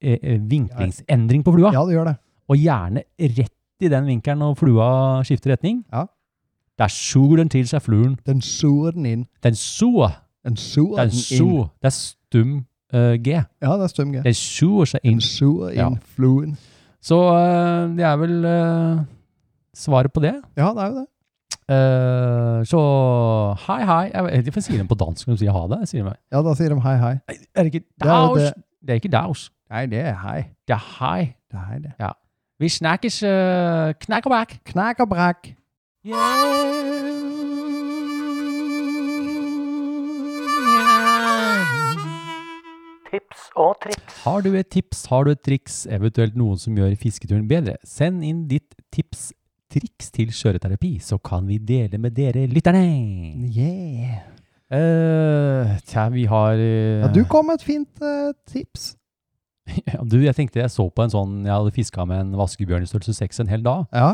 Speaker 5: eh, eh, vinklingsendring på flua.
Speaker 6: Ja, det gjør det.
Speaker 5: Og gjerne rett i den vinkelen når flua skifter retning.
Speaker 6: Ja.
Speaker 5: Der suger den til seg fluen.
Speaker 6: Den soer den inn.
Speaker 5: Den so,
Speaker 6: Den soer
Speaker 5: den
Speaker 6: den, inn.
Speaker 5: so, det er stum eh, G.
Speaker 6: Ja, det er stum G.
Speaker 5: Den suger seg inn.
Speaker 6: Den soer
Speaker 5: Ja.
Speaker 6: inn fluen.
Speaker 5: Så eh, det er vel eh, svaret på det.
Speaker 6: Ja, det er jo det.
Speaker 5: Eh, så hei, hei. Jeg vet ikke hvorfor jeg sier den på dansk når de sier ha det. Jeg sier meg,
Speaker 6: Ja, da sier de hei, hei.
Speaker 5: er det ikke
Speaker 6: er jo
Speaker 5: daus? Det,
Speaker 6: det-
Speaker 5: er ikke daus.
Speaker 6: Nei, det er hei.
Speaker 5: Det er hei.
Speaker 6: Det er hei, det.
Speaker 5: Vi snakkes uh, knakk og back.
Speaker 6: Knæk og brekk.
Speaker 2: Tips og triks.
Speaker 5: Har du et tips, har du et triks, eventuelt noen som gjør fisketuren bedre, send inn ditt tips triks til Skjøreterapi, så kan vi dele med dere lytterne.
Speaker 6: Yeah.
Speaker 5: Eh, tja, vi har eh,
Speaker 6: Ja, du kom med et fint eh, tips.
Speaker 5: Ja, du, jeg tenkte jeg så på en sånn Jeg hadde fiska med en vaskebjørn i størrelse 6 en hel dag.
Speaker 6: Ja.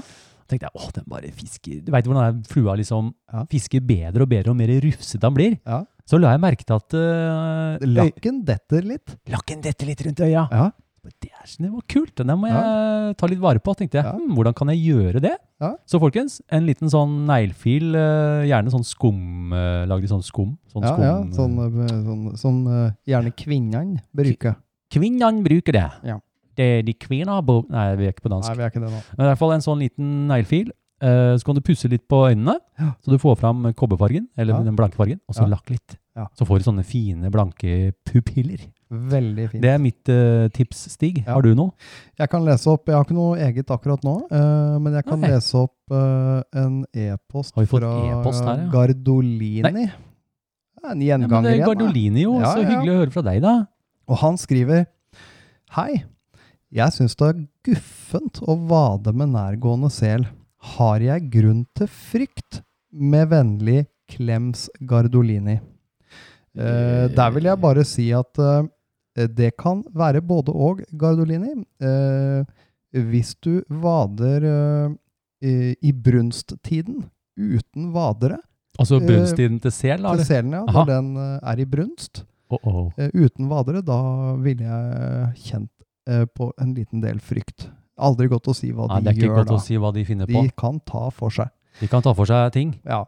Speaker 5: tenkte jeg, åh, den bare fisker Du veit hvordan den flua liksom
Speaker 6: Ja.
Speaker 5: fisker bedre og bedre og mer rufsete han blir?
Speaker 6: Ja.
Speaker 5: Så la jeg merke til at uh,
Speaker 6: Lakken detter litt.
Speaker 5: lakken detter litt rundt øya.
Speaker 6: Ja.
Speaker 5: Det, er, sånn, det var kult. Den må jeg ta litt vare på, tenkte jeg.
Speaker 6: Ja.
Speaker 5: Hm, hvordan kan jeg gjøre det?
Speaker 6: Ja.
Speaker 5: Så folkens, en liten sånn neglefil, eh, gjerne sånn skum, eh, lagd i sånn skum. Sånn
Speaker 6: Ja,
Speaker 5: skum.
Speaker 6: ja. Sånn, eh, sånn, sånn eh, gjerne kvinnene bruker.
Speaker 5: Kvinnene bruker det.
Speaker 6: Ja.
Speaker 5: Det er de kvinner bor... Nei, vi er ikke på dansk.
Speaker 6: Nei, vi er ikke det nå.
Speaker 5: Men i hvert fall en sånn liten neglefil. eh, så kan du pusse litt på øynene,
Speaker 6: Ja.
Speaker 5: så du får fram kobberfargen, eller
Speaker 6: Ja.
Speaker 5: den blanke fargen, og så
Speaker 6: Ja.
Speaker 5: lakk litt.
Speaker 6: Ja.
Speaker 5: Så får du sånne fine, blanke pupiller.
Speaker 6: Veldig fint.
Speaker 5: Det er mitt eh, tips, Stig.
Speaker 6: Ja.
Speaker 5: Har du noe?
Speaker 6: Jeg kan lese opp, jeg har ikke noe eget akkurat nå, eh, men jeg kan
Speaker 5: Nei.
Speaker 6: lese opp eh, en e-post
Speaker 5: Har vi fått
Speaker 6: fra
Speaker 5: e-post her, ja?
Speaker 6: Gardolini.
Speaker 5: Nei.
Speaker 6: Det er En
Speaker 5: Ja, men
Speaker 6: gjenganger
Speaker 5: det er
Speaker 6: igjen. da.
Speaker 5: Gardolini, jo.
Speaker 6: Ja,
Speaker 5: så
Speaker 6: ja, ja.
Speaker 5: hyggelig å høre fra deg, da.
Speaker 6: Og han skriver Hei, jeg syns det er guffent å vade med nærgående sel. Har jeg grunn til frykt? Med vennlig klems Gardolini. Eh, der vil jeg bare si at eh, det kan være både og, Gardolini. Eh, hvis du vader eh, i, i brunsttiden uten vadere
Speaker 5: Altså
Speaker 6: Eh,
Speaker 5: brunsttiden til sel, da?
Speaker 6: til
Speaker 5: eller?
Speaker 6: selen, ja,
Speaker 5: Aha.
Speaker 6: når den eh, er i brunst,
Speaker 5: Å, å.
Speaker 6: Eh, uten vadere, da ville jeg kjent eh, på en liten del frykt. Aldri godt å si hva
Speaker 5: Nei, det
Speaker 6: de
Speaker 5: er ikke
Speaker 6: gjør
Speaker 5: godt
Speaker 6: da.
Speaker 5: å si hva de finner
Speaker 6: De
Speaker 5: på.
Speaker 6: kan ta for seg.
Speaker 5: De kan ta for seg ting.
Speaker 6: Ja.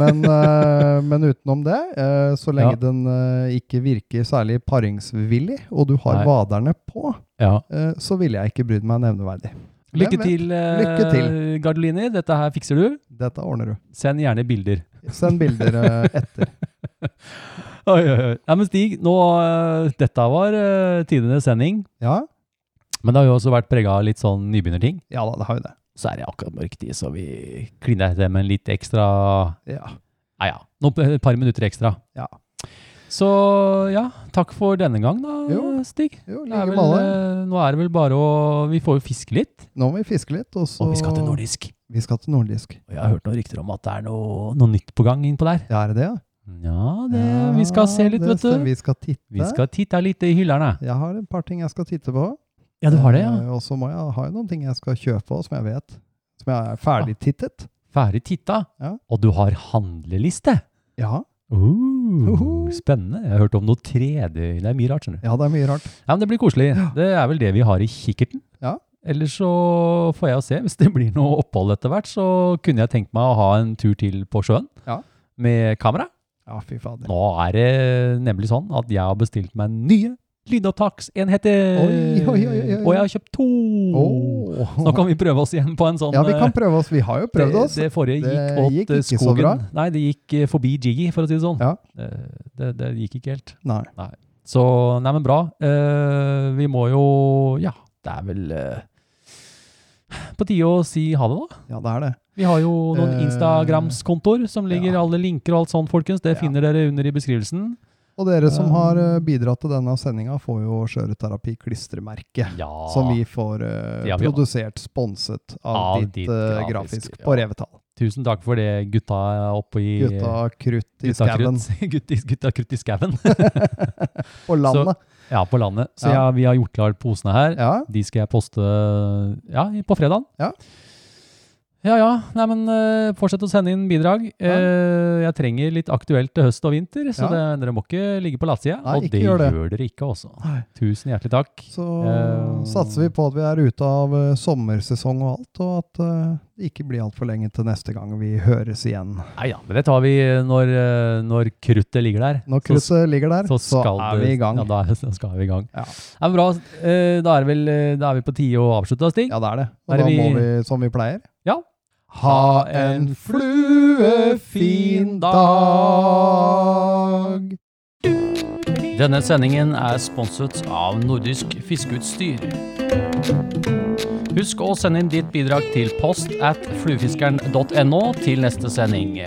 Speaker 6: Men, eh, men utenom det, eh, så lenge
Speaker 5: Ja.
Speaker 6: den eh, ikke virker særlig paringsvillig, og du har
Speaker 5: Nei.
Speaker 6: vaderne på,
Speaker 5: Ja.
Speaker 6: eh, så ville jeg ikke brydd meg nevneverdig.
Speaker 5: Lykke
Speaker 6: Hvem vet?
Speaker 5: til, eh,
Speaker 6: Lykke til.
Speaker 5: Gardolini. Dette her fikser du.
Speaker 6: Dette ordner du.
Speaker 5: Send gjerne bilder.
Speaker 6: Send bilder eh, etter.
Speaker 5: Oi, oi, oi. Nei, men Stig, nå, eh, dette var eh, tidenes sending,
Speaker 6: Ja,
Speaker 5: men det har jo også vært prega av litt sånn nybegynnerting.
Speaker 6: ja da, det har jo det.
Speaker 5: Så er det akkurat mørk tid, så vi kliner etter med en litt ekstra
Speaker 6: Ja.
Speaker 5: Nei ja, noen, et par minutter ekstra.
Speaker 6: Ja.
Speaker 5: Så ja, takk for denne gang da,
Speaker 6: Jo.
Speaker 5: Stig.
Speaker 6: Jo,
Speaker 5: Det er
Speaker 6: like
Speaker 5: vel,
Speaker 6: baller.
Speaker 5: eh, nå er det vel bare å Vi får jo fiske litt.
Speaker 6: Nå må vi fiske litt, og så
Speaker 5: Og vi skal til nordisk.
Speaker 6: Vi skal til nordisk.
Speaker 5: Og jeg har hørt noen rykter om at det er noe, noe nytt på gang innpå der.
Speaker 6: Ja, er det det, ja?
Speaker 5: Ja, det, vi skal se
Speaker 6: Ja,
Speaker 5: litt,
Speaker 6: det
Speaker 5: vet
Speaker 6: stemmer.
Speaker 5: du.
Speaker 6: Vi skal titte.
Speaker 5: Vi skal titte litt i hyllerne.
Speaker 6: Jeg har et par ting jeg skal titte på.
Speaker 5: Ja, du har det, ja.
Speaker 6: Eh, Og så må jeg ha noen ting jeg skal kjøpe og som jeg vet. Som jeg er ferdigtittet.
Speaker 5: Ferdig titta.
Speaker 6: Ja.
Speaker 5: Og du har handleliste.
Speaker 6: Ja.
Speaker 5: Uh,
Speaker 6: Uhu.
Speaker 5: spennende. Jeg har hørt om noe 3D. Det er mye rart, skjønner du.
Speaker 6: ja, det er mye rart.
Speaker 5: Ja, men det blir koselig. Det er vel det vi har i kikkerten.
Speaker 6: Ja.
Speaker 5: Ellers så får jeg jo se. Hvis det blir noe opphold etter hvert, så kunne jeg tenkt meg å ha en tur til på sjøen
Speaker 6: Ja.
Speaker 5: med kamera.
Speaker 6: Ja, fy fader.
Speaker 5: Nå er det nemlig sånn at jeg har bestilt meg nye lydopptaksenheter.
Speaker 6: Oi, oi, oi, oi, oi.
Speaker 5: Og jeg har kjøpt to.
Speaker 6: Åh.
Speaker 5: Så nå kan vi prøve oss igjen på en sånn
Speaker 6: Ja, vi
Speaker 5: eh,
Speaker 6: kan prøve oss. Vi har jo prøvd oss.
Speaker 5: Det, det forrige
Speaker 6: Det
Speaker 5: gikk åt eh,
Speaker 6: gikk ikke så
Speaker 5: skogen.
Speaker 6: bra.
Speaker 5: Nei, det gikk eh, forbi Jiggy, for å si det sånn.
Speaker 6: Ja.
Speaker 5: Eh, Det, det gikk ikke helt.
Speaker 6: Nei.
Speaker 5: Så nei, men bra. Eh, vi må jo Ja, det er vel eh, på tide å si ha det, da.
Speaker 6: Ja, det er det.
Speaker 5: Vi har jo noen
Speaker 6: Eh,
Speaker 5: Instagrams-kontoer som ligger alle linker og alt sånt, folkens. Det
Speaker 6: Ja.
Speaker 5: finner dere under i beskrivelsen.
Speaker 6: Og dere som
Speaker 5: Um.
Speaker 6: har eh, bidratt til denne sendinga, får jo Skjøreterapi-klistremerke.
Speaker 5: Ja.
Speaker 6: Som vi får eh,
Speaker 5: Det har vi også.
Speaker 6: produsert, sponset av,
Speaker 5: Av
Speaker 6: ditt,
Speaker 5: ditt
Speaker 6: eh,
Speaker 5: grafisk,
Speaker 6: grafisk
Speaker 5: ja.
Speaker 6: på revetall.
Speaker 5: Tusen takk for det, gutta oppe i
Speaker 6: Gutta krutt i skauen
Speaker 5: krutt- Gutta, gutta krutt i skauen.
Speaker 6: på landet.
Speaker 5: ja, på landet. Så ja.
Speaker 6: Ja.
Speaker 5: vi har gjort klart posene her.
Speaker 6: Ja,
Speaker 5: De skal jeg poste ja, i- på fredagen.
Speaker 6: Ja.
Speaker 5: Ja, ja. Nei, men eh, fortsett å sende inn bidrag. Eh, jeg trenger litt aktuelt til høst og vinter, så
Speaker 6: Ja.
Speaker 5: det, dere må ikke ligge på latsida.
Speaker 6: Nei,
Speaker 5: Og
Speaker 6: ikke
Speaker 5: det
Speaker 6: gjør
Speaker 5: gjør,
Speaker 6: det.
Speaker 5: dere ikke også.
Speaker 6: Nei.
Speaker 5: Tusen hjertelig takk.
Speaker 6: Så
Speaker 5: Eh,
Speaker 6: satser vi på at vi er ute av eh, sommersesong og alt, og at eh, det ikke blir altfor lenge til neste gang vi høres igjen.
Speaker 5: Nei ja, men det tar vi når, eh, når kruttet ligger der.
Speaker 6: Når
Speaker 5: Så-
Speaker 6: kruttet ligger der, så, er
Speaker 5: det-
Speaker 6: vi i gang.
Speaker 5: Ja,
Speaker 6: Ja,
Speaker 5: da er, da skal vi i gang.
Speaker 6: Ja.
Speaker 5: Ja, men bra. Eh, Da er, det vel, eh, da er vi på tide å avslutte, Stig.
Speaker 6: det er det.
Speaker 5: Er det
Speaker 6: Og da må
Speaker 5: vi-
Speaker 6: vi, som vi pleier
Speaker 5: Ja.
Speaker 6: Ha en fluefin dag!
Speaker 1: Denne sendingen er sponset av Nordisk Fiskeutstyr. Husk å sende inn ditt bidrag til post at fluefiskeren.no til neste sending.